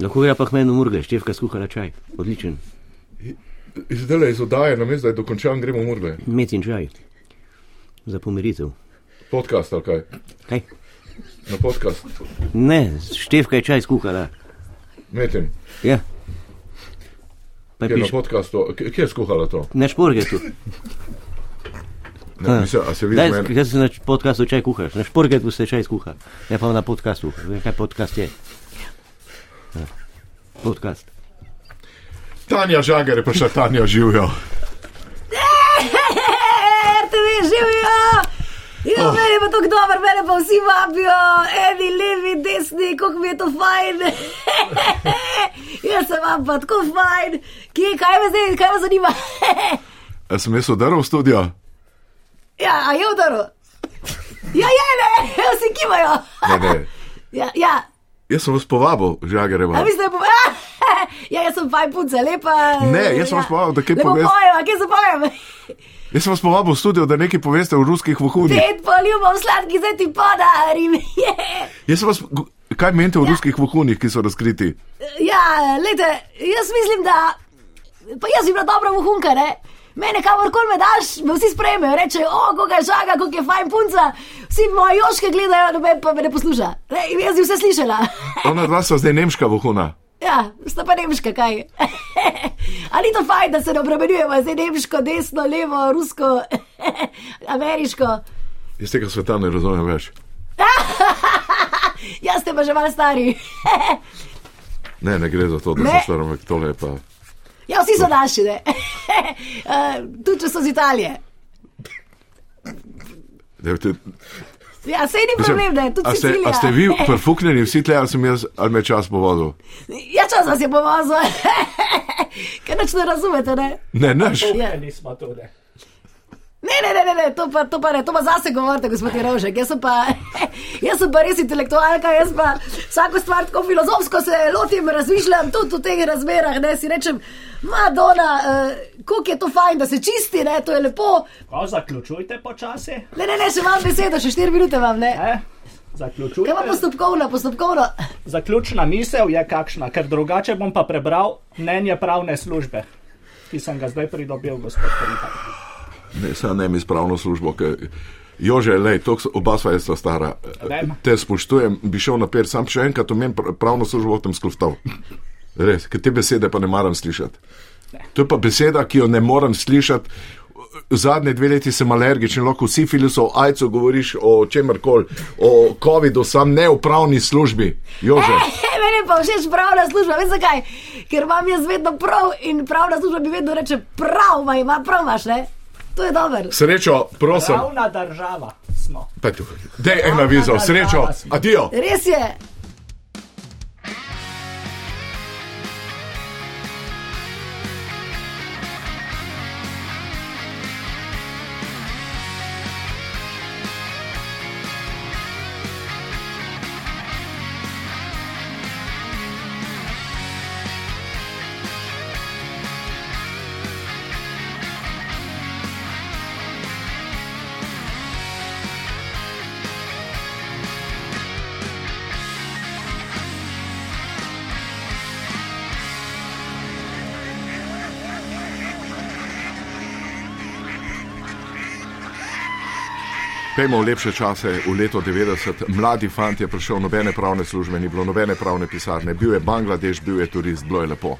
[SPEAKER 7] Lahko gre pa k meni v Murgaj, števka skuhala čaj, odličen,
[SPEAKER 1] Zdaj le iz oddaje, namesto da je dokončan, gremo v Murgle.
[SPEAKER 7] met in čaj, za pomiritev.
[SPEAKER 1] Podcast ali kaj?
[SPEAKER 7] Kaj?
[SPEAKER 1] Na podcast.
[SPEAKER 7] Ne, števka je čaj skuhala.
[SPEAKER 1] Metim,
[SPEAKER 7] Ja. Pa
[SPEAKER 1] kje je na
[SPEAKER 7] piš,
[SPEAKER 1] podkastu, kje kje je skuhala to?
[SPEAKER 7] na šporgetu.
[SPEAKER 1] Ne, mislim, a se vidi,
[SPEAKER 7] Daj,
[SPEAKER 1] meni-
[SPEAKER 7] Kaj se na č- podcastu čaj kuhaš? Na šporgetu se čaj skuha, ne pa na podcastu. Vem, kaj podcast je. Ja. Podcast.
[SPEAKER 1] Tanja Žagar je prišla, Tanja živijo.
[SPEAKER 6] RTV živijo! Ja, oh. meni je pa to dobro, mene pa vsi vabijo, eni levi, desni, kako mi je to fajn. Jaz sem vam pa tako fajn, kje, kaj me zdaj, kaj me zanima.
[SPEAKER 1] A sem jaz udaril v studio?
[SPEAKER 6] ja, a je udaro. Ja, je, ne, vsi kimajo.
[SPEAKER 1] Ne, ne.
[SPEAKER 6] Ja, ja.
[SPEAKER 1] Jaz sem vas povabil,
[SPEAKER 6] A
[SPEAKER 1] Žagareva.
[SPEAKER 6] vi ste pa. Ja, jaz sem fajn punca, lepa. Ja.
[SPEAKER 1] Ne, jaz sem vas povabil, da kaj
[SPEAKER 6] Lepo
[SPEAKER 1] poveste.
[SPEAKER 6] pojem, a kje se pojem?
[SPEAKER 1] Jaz sem vas povabil v studio, da nekaj poveste o ruskih vohunih.
[SPEAKER 6] Pet poljubov sladki, zdaj ti podarim. Yeah.
[SPEAKER 1] Jaz sem vas, kaj menite o ruskih vohunih, ki so razkriti?
[SPEAKER 6] Ja, lejte, jaz mislim, da. Pa jaz bi bila dobra vohunka, ne? Mene, kamorkoli me daš, me vsi sprejmejo, rečejo, o, kako je žaga, kako je fajn punca. Vsi moji joške gledajo, noben pa me ne posluša. Ne, in jaz bi vse slišala.
[SPEAKER 1] Ona dva sta zdaj nemška vohuna.
[SPEAKER 6] Ja, sta pa nemška, kaj. Ali ni to fajn, da se ne obremenjujemo, zdaj nemško, desno, levo, rusko, ameriško.
[SPEAKER 1] Jaz tega sveta ne razumem več.
[SPEAKER 6] Jaz ste pa že malo stari.
[SPEAKER 1] Ne, ne gre za to, da
[SPEAKER 6] Ne.
[SPEAKER 1] sem star, ampak tole je pa.
[SPEAKER 6] Ja, vsi so naši, ne. Eh, Tudi če so iz Italije.
[SPEAKER 1] Da, te,
[SPEAKER 6] Ja, sej ni
[SPEAKER 1] mislim,
[SPEAKER 6] problem, ne, tudi
[SPEAKER 1] a, ste,
[SPEAKER 6] Sicilija.
[SPEAKER 1] a ste vi perfuknjeni vsi tle, ali sem jaz, ali me je čas povodil?
[SPEAKER 6] Ja, čas vas je povozil, ker nič ne razumete, ne?
[SPEAKER 1] Ne, neš.
[SPEAKER 8] Ja, nismo tudi.
[SPEAKER 6] Ne, ne, ne, ne, ne, to pa, to pa ne, to pa zase govorite, gospod Jerovšek. Jaz sem pa, jaz sem pa res intelektualka, jaz pa vsako stvar tako filozofsko se lotim, razmišljam tudi v teh razmerah, ne, si rečem, Madonna, uh, koliko je to fajn, da se čisti, ne, to je lepo.
[SPEAKER 8] Ko zaključujte počasi,
[SPEAKER 6] Ne, ne, ne, še imam besedo, še štiri minute imam, ne.
[SPEAKER 8] eh?
[SPEAKER 6] Kaj
[SPEAKER 8] zaključujte.
[SPEAKER 6] pa postopkovno, postopkovno?
[SPEAKER 8] Zaključna misel je kakšna, ker drugače bom pa prebral mnenje pravne službe, ki sem ga zdaj pridobil, gospod Pripa.
[SPEAKER 1] Ne, sam ne mi spravno službo. Kaj... Jože, lej, toks, oba sva jesta stara.
[SPEAKER 8] Vem.
[SPEAKER 1] Te spoštujem, bi šel naprej, sam še enkrat omenim pr- pravno službo, tam skloftal. Res, ker te besede pa ne maram slišati. To je pa beseda, ki jo ne morem slišati. Zadnje dve leti sem alergičen, lahko vsi filosofi o ajcu govoriš o čemkoli, o COVID-u, sam ne o pravni službi. Jože,
[SPEAKER 6] He, Eh, meni je pa všeč pravna služba, veš zakaj? Ker imam jaz vedno prav in pravna služba mi vedno reče prav, ma ima prav, imaš, ne? To je dobro.
[SPEAKER 1] srečo, prosim,
[SPEAKER 8] Pravna država smo.
[SPEAKER 1] Pa tu. daj eno vizo, srečo, adijo.
[SPEAKER 6] Res je.
[SPEAKER 1] Pejmo v lepše čase, v leto 90. Mladi fant je prišel, nobene pravne službe ni bilo, nobene pravne pisarne. Bil je Bangladeš, bil je turist, bilo je lepo.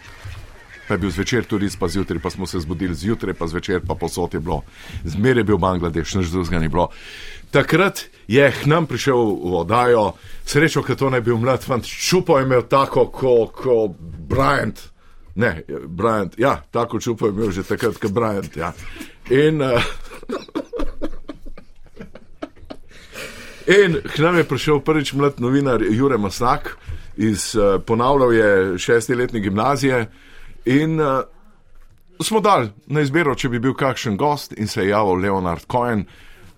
[SPEAKER 1] Pa je bil zvečer turist, pa zjutraj pa smo se zbudili, zjutraj pa zvečer pa posod je bilo. Zmeraj je bil Bangladeš, nič drugega ni bilo. Takrat je k nam prišel v oddajo, srečo, ker to ne bi bil mlad fant, čupo je imel tako kot ko Bryant. Ne, eh, Bryant, ja, tako čupo je imel že takrat, kot Bryant. Ja. In. Uh,
[SPEAKER 10] In k nam je prišel prvič mlad novinar Jure Masnak, iz, eh, ponavljal je šestiletne gimnazije in uh, smo dali na izbiro, če bi bil kakšen gost in se je javil Leonard Cohen.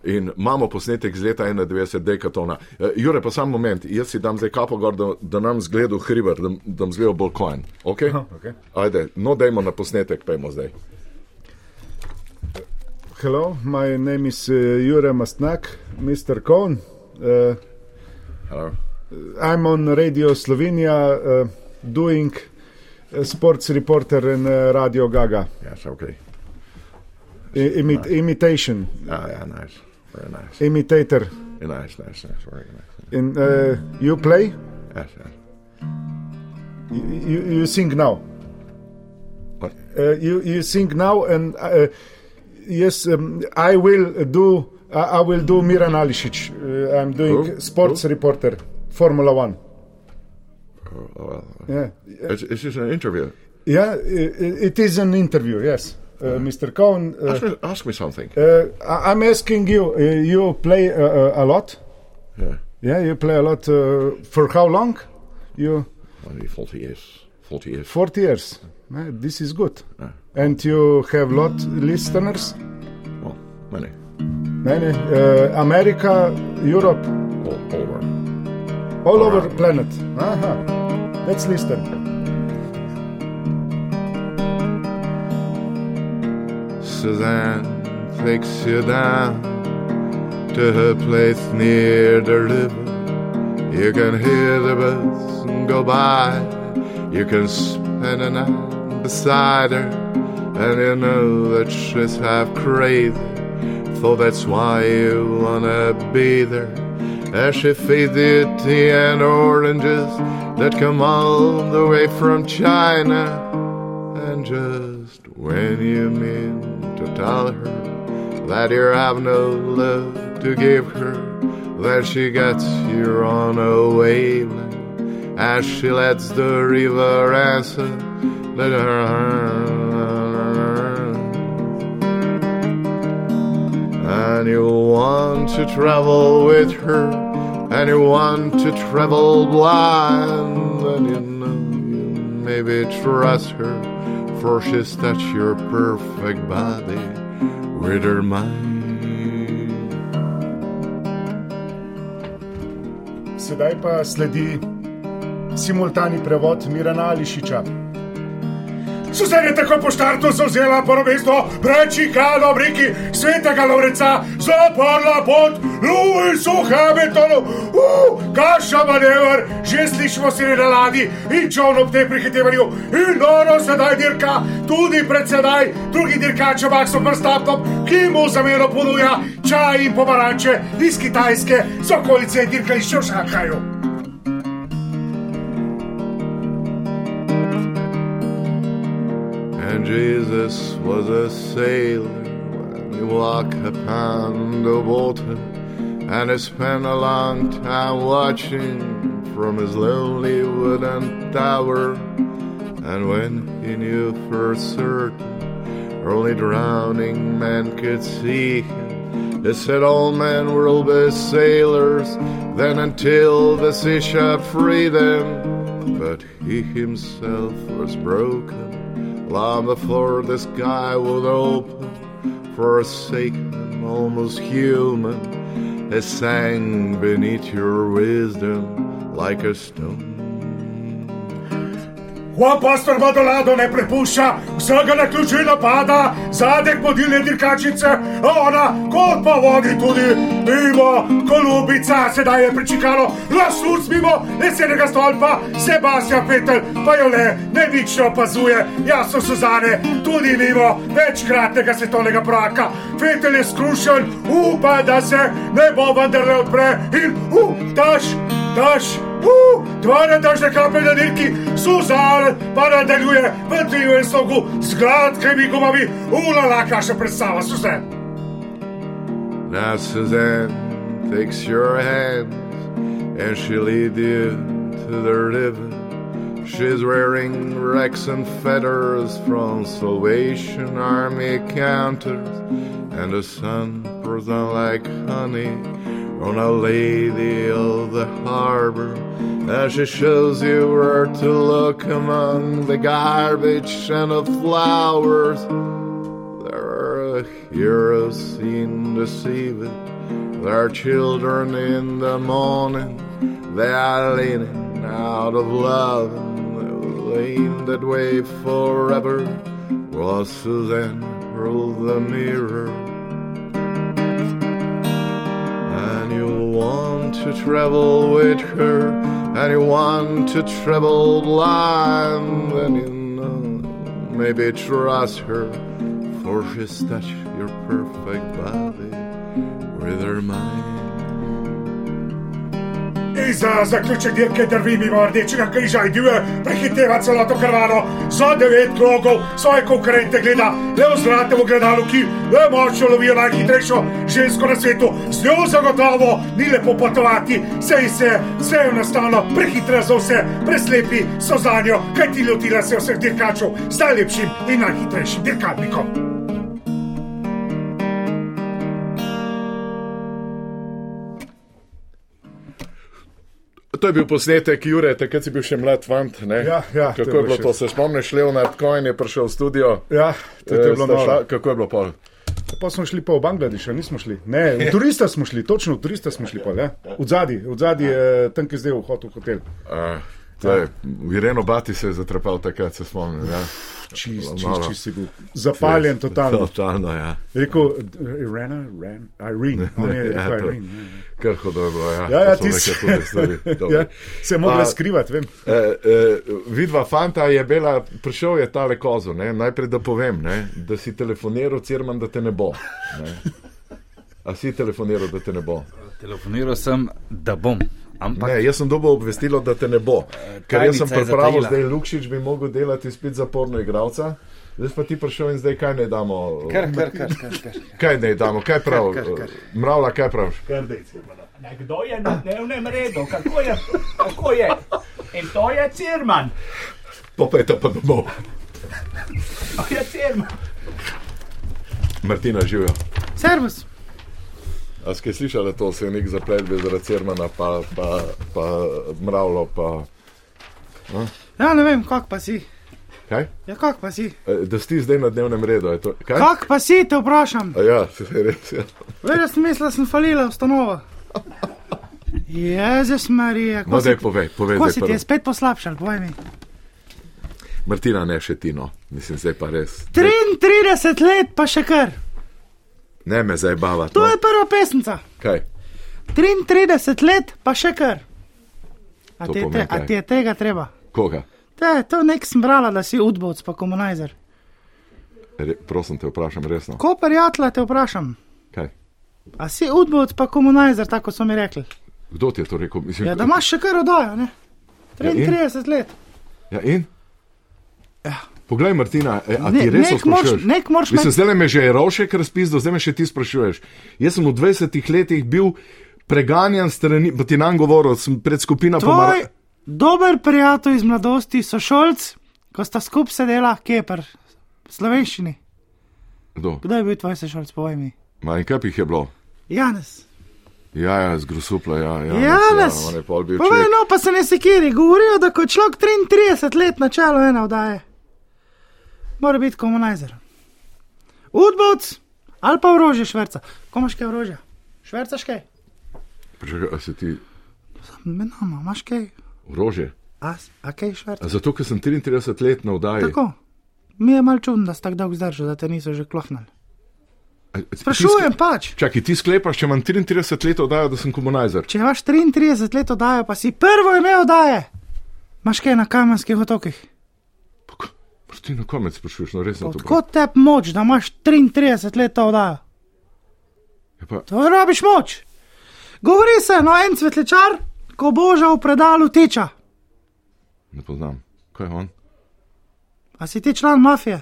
[SPEAKER 10] In imamo posnetek z leta 91, dekatona. Uh, Jure, pa samo moment, jaz si dam zdaj kapo gor, da, da nam zgledu hriber, da, da nam zgledu bolj kojen. Okay?
[SPEAKER 11] okay.
[SPEAKER 10] Ajde, no dajmo na posnetek, pejmo zdaj.
[SPEAKER 11] Hello, my name is uh, Jure Mastnak, Mr. Kohn. Uh,
[SPEAKER 10] Hello.
[SPEAKER 11] I'm on Radio Slovenia uh, doing uh, sports reporter in uh, Radio Gaga.
[SPEAKER 10] Yes, okay.
[SPEAKER 11] I- imi- imitation,
[SPEAKER 10] Ah, yeah, nice. Very nice.
[SPEAKER 11] imitator.
[SPEAKER 10] Nice, nice, nice. Very nice.
[SPEAKER 11] In, uh, you play?
[SPEAKER 10] Yes, yes.
[SPEAKER 11] You, you, you sing now.
[SPEAKER 10] What?
[SPEAKER 11] Uh, you, you sing now, and uh, yes, um, I will do. I, I will do Miran Alisic. Uh, I'm doing
[SPEAKER 10] Who?
[SPEAKER 11] sports
[SPEAKER 10] Who?
[SPEAKER 11] reporter, Formula One.
[SPEAKER 10] Oh, oh, well.
[SPEAKER 11] Yeah,
[SPEAKER 10] It's, it's just an interview.
[SPEAKER 11] yeah. It, it is an interview. Yes, uh, Mr. Cohen. Uh,
[SPEAKER 10] Ask me, ask me something.
[SPEAKER 11] uh, I- I'm asking you. Uh, you play uh, uh, a lot.
[SPEAKER 10] Yeah.
[SPEAKER 11] Yeah, you play a lot. Uh, for how long? You
[SPEAKER 10] Only 40 years. 40 years.
[SPEAKER 11] 40 years. Uh, this is good. And you have lot listeners.
[SPEAKER 10] Well, many.
[SPEAKER 11] Many, uh, America, Europe,
[SPEAKER 10] All, all over.
[SPEAKER 11] all over planet. Aha. Let's listen.
[SPEAKER 10] Suzanne takes you down to her place near the river. You can hear the birds go by. You can spend a night beside her. And you know that she's half crazy. So that's why you wanna be there. As she feeds you tea and oranges that come all the way from China. And just when you mean to tell her that you have no love to give her, that she gets you on a wavelength as she lets the river answer. That and you want to travel with her, and you want to travel blind, and you know you maybe trust her, for she's touched your perfect body with her mind.
[SPEAKER 11] Sedaj pa sledi simultani prevod Mirana Ališiča.
[SPEAKER 12] Suzan je tako po štartu zauzela prvo mesto, prečikala ob reki svetega Lovreca, zaprla pot Luisu Hamiltonu. Uh, kaša manever, že slišimo se na ladji in čovn ob tem prihitevanju. In noro sedaj dirka, tudi pred sedaj drugi dirkač obak so prstapom, ki mu zameno ponuja čaj in pomaranče iz Kitajske, z okolice dirka iz Šošakaju.
[SPEAKER 10] And Jesus was a sailor when he walked upon the water, and he spent a long time watching from his lonely wooden tower. And when he knew for certain only drowning men could see him, he said all men will be sailors, then until the sea shall free them. But he himself was broken long before the sky would open, forsaken, almost human. He sang beneath your wisdom like a stone.
[SPEAKER 12] Ko apostol Vadolado ne prepušča, vsega na ključu napada, zadek vodilne dirkačice, a ona kot pa vodi tudi mimo kolubica, sedaj je pričakalo, lasuc mimo lesenega stolpa, Sebastian Petel pa jo le nevično opazuje, jasno Suzane, tudi mimo večkratnega svetovnega braka. Petel je skrušen, upa, da se ne bo vendarle odpre in uh, daš. Daš, uh, dva nadaljne kaplje na dirki, Suzan pa nadaljuje v divjem slogu z gladkimi gumami, ulala, kaša predstava, Suzan.
[SPEAKER 10] Now Suzanne takes your hand and she leads you to the river. She's wearing wrecks and feathers from Salvation Army counters, and the sun pours down like honey on a lady of the harbor as she shows you where to look among the garbage and the flowers. There are heroes seen deceived, there are children in the morning, they are leaning out of love, and they'll lean that way forever. While Suzanne rolled the mirror and you want to travel with her, and you want to travel blind, and you know maybe trust her, for she's touched your perfect body with her mind.
[SPEAKER 12] In za zaključek dirke drvi mimo rdečega križa in divje prehiteva celotno krvavo, so devet krogov, svoje konkurente gleda le v zlatem ogledalu, ki le močno lovijo najhitrejšo žensko na svetu. Z njo zagotovo ni lepo potovati, sej se vse enostavno prehitra za vse, preslepi so za njo, kaj ti lotila se je vseh dirkačev z najlepšim in najhitrejšim dirkalnikom.
[SPEAKER 1] To je bil posnetek Jure, takrat si bil še mlad fant. ne?
[SPEAKER 11] Ja, ja, to
[SPEAKER 1] kako
[SPEAKER 11] je
[SPEAKER 1] je bilo
[SPEAKER 11] bilo
[SPEAKER 1] to?
[SPEAKER 11] še.
[SPEAKER 1] Se spomniš, Leonard Cohen je prišel v studio.
[SPEAKER 11] Ja, to, to je
[SPEAKER 1] Eh,
[SPEAKER 11] bilo
[SPEAKER 1] sta
[SPEAKER 11] noro.
[SPEAKER 1] šla- Kako je bilo pol?
[SPEAKER 11] Pa smo šli pa v Bangladeš, a nismo šli. Ne, v
[SPEAKER 1] Ja.
[SPEAKER 11] turista smo šli, točno v turista smo šli. Pa, ja. V zadnji, v zadnji je eh, tam, ki je zdaj vhod v hotel.
[SPEAKER 1] Uh, je, Ireno Bati se je zatrpal takrat, se spomnim. Ja.
[SPEAKER 11] Čist,
[SPEAKER 1] Malo.
[SPEAKER 11] čist, čist si bil. Zapaljen totalno.
[SPEAKER 1] Totalno, ja.
[SPEAKER 11] Je Rekel, Irena, Ren, Irene, on je
[SPEAKER 1] Ja,
[SPEAKER 11] rekel
[SPEAKER 1] to-
[SPEAKER 11] Irene. ja.
[SPEAKER 1] Kar hudo je bilo, ja.
[SPEAKER 11] Ja, ja,
[SPEAKER 1] To
[SPEAKER 11] ti
[SPEAKER 1] so
[SPEAKER 11] si-
[SPEAKER 1] neke hude stvari. Dobro.
[SPEAKER 11] Ja, se je mogla
[SPEAKER 1] A,
[SPEAKER 11] skrivati, vem.
[SPEAKER 1] Eh, eh, vidva fanta je bila, prišel je tale kozo, ne? najprej da povem, ne? da si telefoniral, cirman, da te ne bo. Ne? A si telefoniral, da te ne bo?
[SPEAKER 13] Telefoniral sem, da bom. Ampak Eh,
[SPEAKER 1] Ne, jaz sem dobil obvestilo, da te ne bo. Ker jaz sem
[SPEAKER 13] tajnica je
[SPEAKER 1] pripravil,
[SPEAKER 13] zatajila.
[SPEAKER 1] zdaj Lukšič bi mogel delati spet zaporno igralca. Zdaj pa ti prišel in zdaj kaj ne damo.
[SPEAKER 13] Kar, kar, kar, kar, kar.
[SPEAKER 1] Kaj ne damo, kaj prav?
[SPEAKER 13] Kar, kar, kar.
[SPEAKER 1] Mravla, kaj praviš?
[SPEAKER 8] Nekdo je na dnevnem redu, kako je, kako je. In to je Cirman,
[SPEAKER 1] Popejte pa domov.
[SPEAKER 8] to je Cirman.
[SPEAKER 1] Martina, živijo.
[SPEAKER 14] Servus.
[SPEAKER 1] A ste slišali to, se je nek zaplet bil zaradi Cermana, pa, pa, pa mravlo, pa. A?
[SPEAKER 14] Ja, ne vem, kak pa si.
[SPEAKER 1] Kaj?
[SPEAKER 14] Ja, kak pa si.
[SPEAKER 1] E, Da si zdaj na dnevnem redu, je to. Kaj?
[SPEAKER 14] Kak pa si, te vprašam.
[SPEAKER 1] A Ja, se je res. Ja.
[SPEAKER 14] Vedno sem mislila, da sem falila ustanova. Jezus Marija,
[SPEAKER 1] No,
[SPEAKER 14] kako
[SPEAKER 1] zdaj
[SPEAKER 14] si,
[SPEAKER 1] povej, povej.
[SPEAKER 14] ko
[SPEAKER 1] zdaj
[SPEAKER 14] si
[SPEAKER 1] prvo.
[SPEAKER 14] ti je spet poslabšal, povej mi.
[SPEAKER 1] Martina, ne še Tino, mislim, zdaj pa res.
[SPEAKER 14] 33 let pa še kar.
[SPEAKER 1] Ne me zdaj bavati.
[SPEAKER 14] To
[SPEAKER 1] No.
[SPEAKER 14] je prva pesnica.
[SPEAKER 1] Kaj?
[SPEAKER 14] 33 let pa še kar. A
[SPEAKER 1] To
[SPEAKER 14] ti je,
[SPEAKER 1] pomeni
[SPEAKER 14] te, a
[SPEAKER 1] kaj?
[SPEAKER 14] ti je tega treba?
[SPEAKER 1] Koga?
[SPEAKER 14] Te, to nek sem brala, da si udbovc pa komunizer.
[SPEAKER 1] Re, prosim te, vprašam resno.
[SPEAKER 14] Ko prijatelja te vprašam,
[SPEAKER 1] Kaj?
[SPEAKER 14] a si udbovc pa komunizer, tako so mi rekli.
[SPEAKER 1] Kdo ti je to rekel? Mislim,
[SPEAKER 14] Ja, da imaš še kar oddajo, ne?
[SPEAKER 1] Ja, in?
[SPEAKER 14] 33 let.
[SPEAKER 1] Ja, in? Poglej, Martina, e, a ti
[SPEAKER 14] Ja. Ne-
[SPEAKER 1] res
[SPEAKER 14] nek
[SPEAKER 1] sprašuješ?
[SPEAKER 14] moraš- nek moraš
[SPEAKER 1] Mislim,
[SPEAKER 14] imeti-
[SPEAKER 1] zdaj me že je rovšek razpisal, zdaj me še ti sprašuješ. Jaz sem v 20 letih bil preganjan strani, bo ti nam govoril, sem pred skupino
[SPEAKER 14] Tvoj
[SPEAKER 1] pomar...
[SPEAKER 14] dober prijatelj iz mladosti, sošolc, ko sta skup sedela, keper, slovenščini.
[SPEAKER 1] Kdo?
[SPEAKER 14] Kdo je bil tvoj sošolc, povej mi?
[SPEAKER 1] Manjkap jih je bilo.
[SPEAKER 14] Janes.
[SPEAKER 1] Ja, ja, z grusupla, ja. ja
[SPEAKER 14] Janes.
[SPEAKER 1] Ja, on je pol bil
[SPEAKER 14] Povej,
[SPEAKER 1] človek.
[SPEAKER 14] no pa se ne sekiri, govorijo, da ko je človek 33 let na čelu ena vdaje, mora biti komunizer. Udbovc ali pa orožje šverca. Ko imaš kaj orožja? Švercaš kaj? no.
[SPEAKER 1] Počakaj, a si ti
[SPEAKER 14] Med nama, imaš kaj?
[SPEAKER 1] orože?
[SPEAKER 14] A, s- a kaj šverca?
[SPEAKER 1] Zato, ker sem 33 let na vdaji.
[SPEAKER 14] Tako. Mi je mal čudno, da si tako dolgo zdržal, da te niso že klohnali.
[SPEAKER 1] A- a ti
[SPEAKER 14] Sprašujem
[SPEAKER 1] skle-
[SPEAKER 14] pač.
[SPEAKER 1] Čakaj, ti sklepaš, če imam 33 let vdajo, da sem komunizer.
[SPEAKER 14] Če imaš 33 let oddaje, pa si prvo ime oddaje. Imaš kaj na kamenskih otokih?
[SPEAKER 1] Ti na konec sprašuješ, no resno to.
[SPEAKER 14] Odkot te moč, da imaš 33 let to oddajo?
[SPEAKER 1] Ja, pa-
[SPEAKER 14] To rabiš moč. Govori se, no en svetličar, ko boža v predalu teča.
[SPEAKER 1] Ne poznam. Kaj je on?
[SPEAKER 14] A si ti član mafije?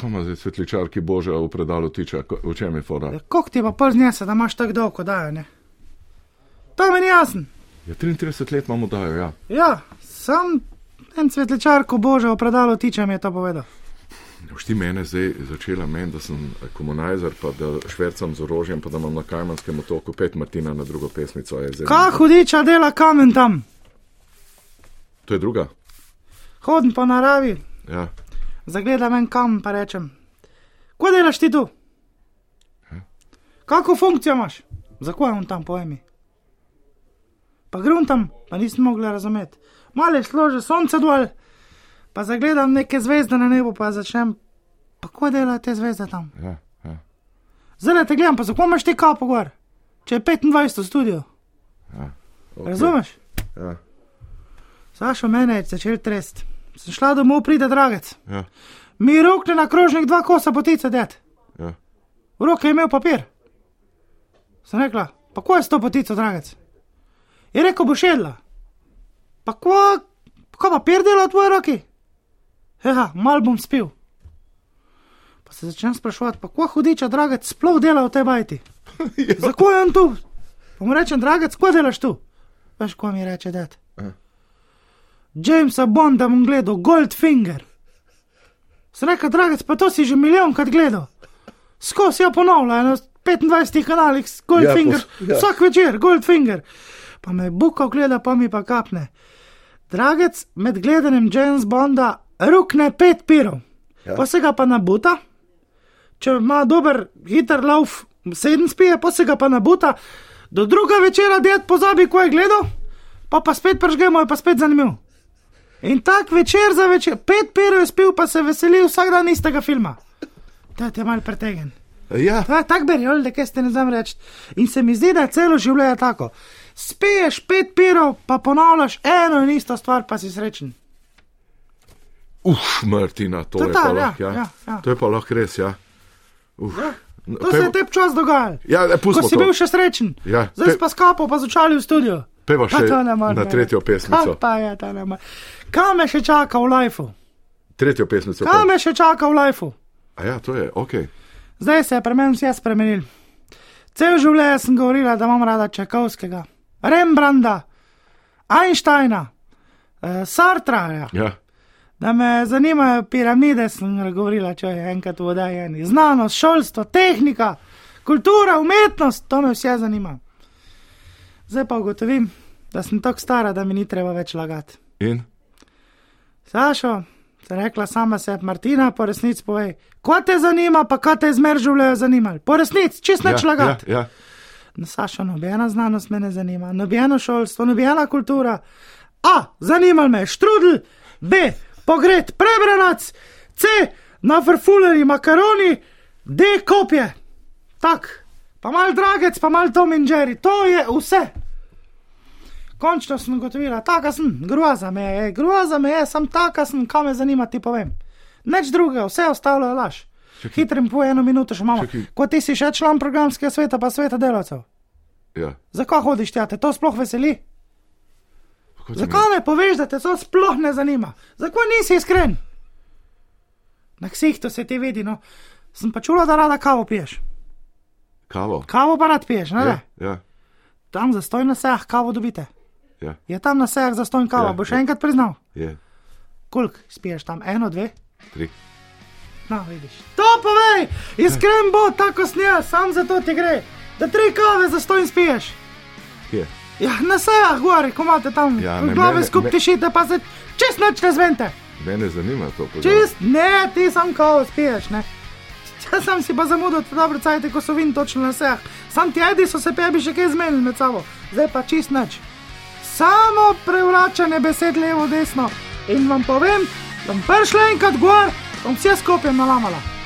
[SPEAKER 1] Kaj ima zdaj svetličar, ki boža v predalu tiča? Ko- V čem je fora?
[SPEAKER 14] Kok ti pa pol znese, da imaš tako dolgo oddajo, ne? To meni jasno.
[SPEAKER 1] Ja, 33 let imamo dajo, ja.
[SPEAKER 14] Ja, sem en svetličar, ko boža v predalu teča, mi je to povedal.
[SPEAKER 1] Boš ti mene zdaj začela meni, da sem komunizer, pa da švercam z orožjem, pa da imam na Kajmanskem otoku pet Martina na drugo pesmico. je zdaj-
[SPEAKER 14] Kaj hudiča dela kamen tam,
[SPEAKER 1] To je druga.
[SPEAKER 14] hodim po naravi,
[SPEAKER 1] Ja.
[SPEAKER 14] zagledam en kamen pa rečem: Kaj delaš ti tu? Kako funkcijo imaš? Zakaj on tam pojmi? Pa grem tam, pa nisem mogla razumeti. Male slože sonce dol, pa zagledam neke zvezde na nebu, pa začnem. Pa kaj delajo te zvezde tam?
[SPEAKER 1] Ja, ja.
[SPEAKER 14] Zdaj te gledam, pa zakaj imaš ti kapo gor? Če je 25 v studiu.
[SPEAKER 1] Ja,
[SPEAKER 14] Okay. Razumeš?
[SPEAKER 1] Ja,
[SPEAKER 14] Sašo mene je začel trest. Sem šla domov, pride dragec.
[SPEAKER 1] ja,
[SPEAKER 14] Mi rokne na krožnik dva kosa potice, ded.
[SPEAKER 1] ja.
[SPEAKER 14] V roki je imel papir. Sem rekla, pa ko je s to potico, dragec? Je rekel, bo šedla. Pa ko, ko papir dela v tvoji roki? Ja, mal bom spil. Pa se začnem sprašovati, pa ko hudiča, dragec, sploh dela v tej bajti. Zakaj je on tu? Pa mu rečem, dragec, ko delaš tu? Veš, ko mi reče, ded.
[SPEAKER 1] Ja.
[SPEAKER 14] Jamesa Bonda bom gledal, Goldfinger. Sem rekel, dragec, pa to si že milijonkrat gledal. Skozi jo ponavlja na 25 kanalih, s Goldfinger,
[SPEAKER 5] Ja, pos- ja.
[SPEAKER 14] ja. vsak večer, Goldfinger. Pa me buka gleda, pa mi pa kapne. Dragec med gledanjem James Bonda rukne pet pirov, ja. pa se ga pa nabuta. Če ima dober, hiter lauf, sedem spije, pa se ga pa nabuta. Do druga večera ded pozabi, ko je gledal, pa pa spet pržgemo, je pa spet zanimiv. In tak večer za večer, pet pirov je spil, pa se veseli vsak dan istega filma. Ta je mal pretegen.
[SPEAKER 1] Ja.
[SPEAKER 14] Ta, tak berjol, da kaj ste ne znam reči. In se mi zdi, da je celo življenje tako. Spiješ pet pirov, pa ponavljaš eno in isto stvar, pa si srečen.
[SPEAKER 1] Uf, Martina, to, to je
[SPEAKER 14] ta,
[SPEAKER 1] pa
[SPEAKER 14] ja,
[SPEAKER 1] lahko. Ja,
[SPEAKER 14] ja, ja.
[SPEAKER 1] To je pa lahko res, ja. Uf. No,
[SPEAKER 14] To se je tep čas dogajalo.
[SPEAKER 1] Ja, ne,
[SPEAKER 14] Ko
[SPEAKER 1] pustimo
[SPEAKER 14] si
[SPEAKER 1] to.
[SPEAKER 14] bil še srečen,
[SPEAKER 1] Ja,
[SPEAKER 14] zdaj
[SPEAKER 1] pe-
[SPEAKER 14] si pa skapo, pa začali v studiu.
[SPEAKER 1] Peva
[SPEAKER 14] Pa
[SPEAKER 1] še
[SPEAKER 14] to ne morem
[SPEAKER 1] na
[SPEAKER 14] verjeti.
[SPEAKER 1] tretjo pesmico.
[SPEAKER 14] Kaj pa je ta ne morem. Kaj me še čaka v lifeu?
[SPEAKER 1] Tretjo pesmico.
[SPEAKER 14] Kaj
[SPEAKER 1] pej.
[SPEAKER 14] me še čaka v lifeu?
[SPEAKER 1] A ja, to je, ok.
[SPEAKER 14] Zdaj se je pri meni vse spremenil. Cel življenje sem govorila, da imam rada Čekovskega, Rembranda, Einsteina, eh, Sartraja.
[SPEAKER 1] Ja.
[SPEAKER 14] Da me zanimajo piramide, sem govorila, če je enkrat vodajeni. Znanost, šolstvo, tehnika, kultura, umetnost, to me vse zanima. Zdaj pa ugotovim, da sem tako stara, da mi ni treba več lagati.
[SPEAKER 1] In?
[SPEAKER 14] Sašo, sem rekla sama sebi, Martina, po resnici povej, ko te zanima, pa kaj te izmer življenja zanima. Po resnici, čist neč
[SPEAKER 1] ja, ja,
[SPEAKER 14] lagati.
[SPEAKER 1] ja.
[SPEAKER 14] No, Sašo, nobena znanost me ne zanima, nobeno šolstvo, nobena kultura. A, zanima me je štrudl, B, pogred, prebranac, C, na frfuleri makaroni, D, kopje. Tak, pa mal dragec, pa mal Tom in Jerry, to je vse. Končno sem ugotovila, taka sem, groza me je, groza me je, sem taka sem, kam me zanima, ti povem. Nič drugega, vse ostalo je laž. Hitrim po eno minuto še imamo.
[SPEAKER 1] Čakaj.
[SPEAKER 14] Kot ti si še član programskega sveta, pa sveta delavcev.
[SPEAKER 1] ja.
[SPEAKER 14] Zakaj hodiš tja, te to sploh veseli?
[SPEAKER 1] Kako ti
[SPEAKER 14] Zakaj ne poveš, da te to sploh ne zanima? Zakaj nisi iskren? Na ksihtu se ti vidi, no. Sem pa čula, da rada kavo piješ.
[SPEAKER 1] Kavo.
[SPEAKER 14] Kavo pa rad piješ, ne?
[SPEAKER 1] Ja,
[SPEAKER 14] Ja.
[SPEAKER 1] ja,
[SPEAKER 14] Tam za stoj na sejah kavo dobite.
[SPEAKER 1] ja.
[SPEAKER 14] Je tam na sejah za stoj kavo,
[SPEAKER 1] Ja,
[SPEAKER 14] ja, boš še enkrat priznal.
[SPEAKER 1] Je.
[SPEAKER 14] Kolik spiješ tam? Eno, dve?
[SPEAKER 1] Tri.
[SPEAKER 14] No, vidiš. To povej, iskren bo, tako snija, sam za to ti gre. Da tri kave za stoj spiješ.
[SPEAKER 1] Kje?
[SPEAKER 14] Ja, na sejah gori, ko imate tam
[SPEAKER 1] Ja,
[SPEAKER 14] ja,
[SPEAKER 1] ne,
[SPEAKER 14] ne, glave
[SPEAKER 1] mene-
[SPEAKER 14] skupaj
[SPEAKER 1] me-
[SPEAKER 14] tišite, pa se čez noč ne zvente.
[SPEAKER 1] Mene zanima to. pozor.
[SPEAKER 14] Čist, ne, ti sam kao spiješ, ne. Če sam si pa zamudil, to dobro cajt, ko so vin točno na sejah. Sam ti edi so se pebi še kaj zmenili med sabo, zdaj pa čist noč. Samo prevračanje besed levo, desno in vam povem, da bom prišla enkrat gor, bom vse skupaj nalamala.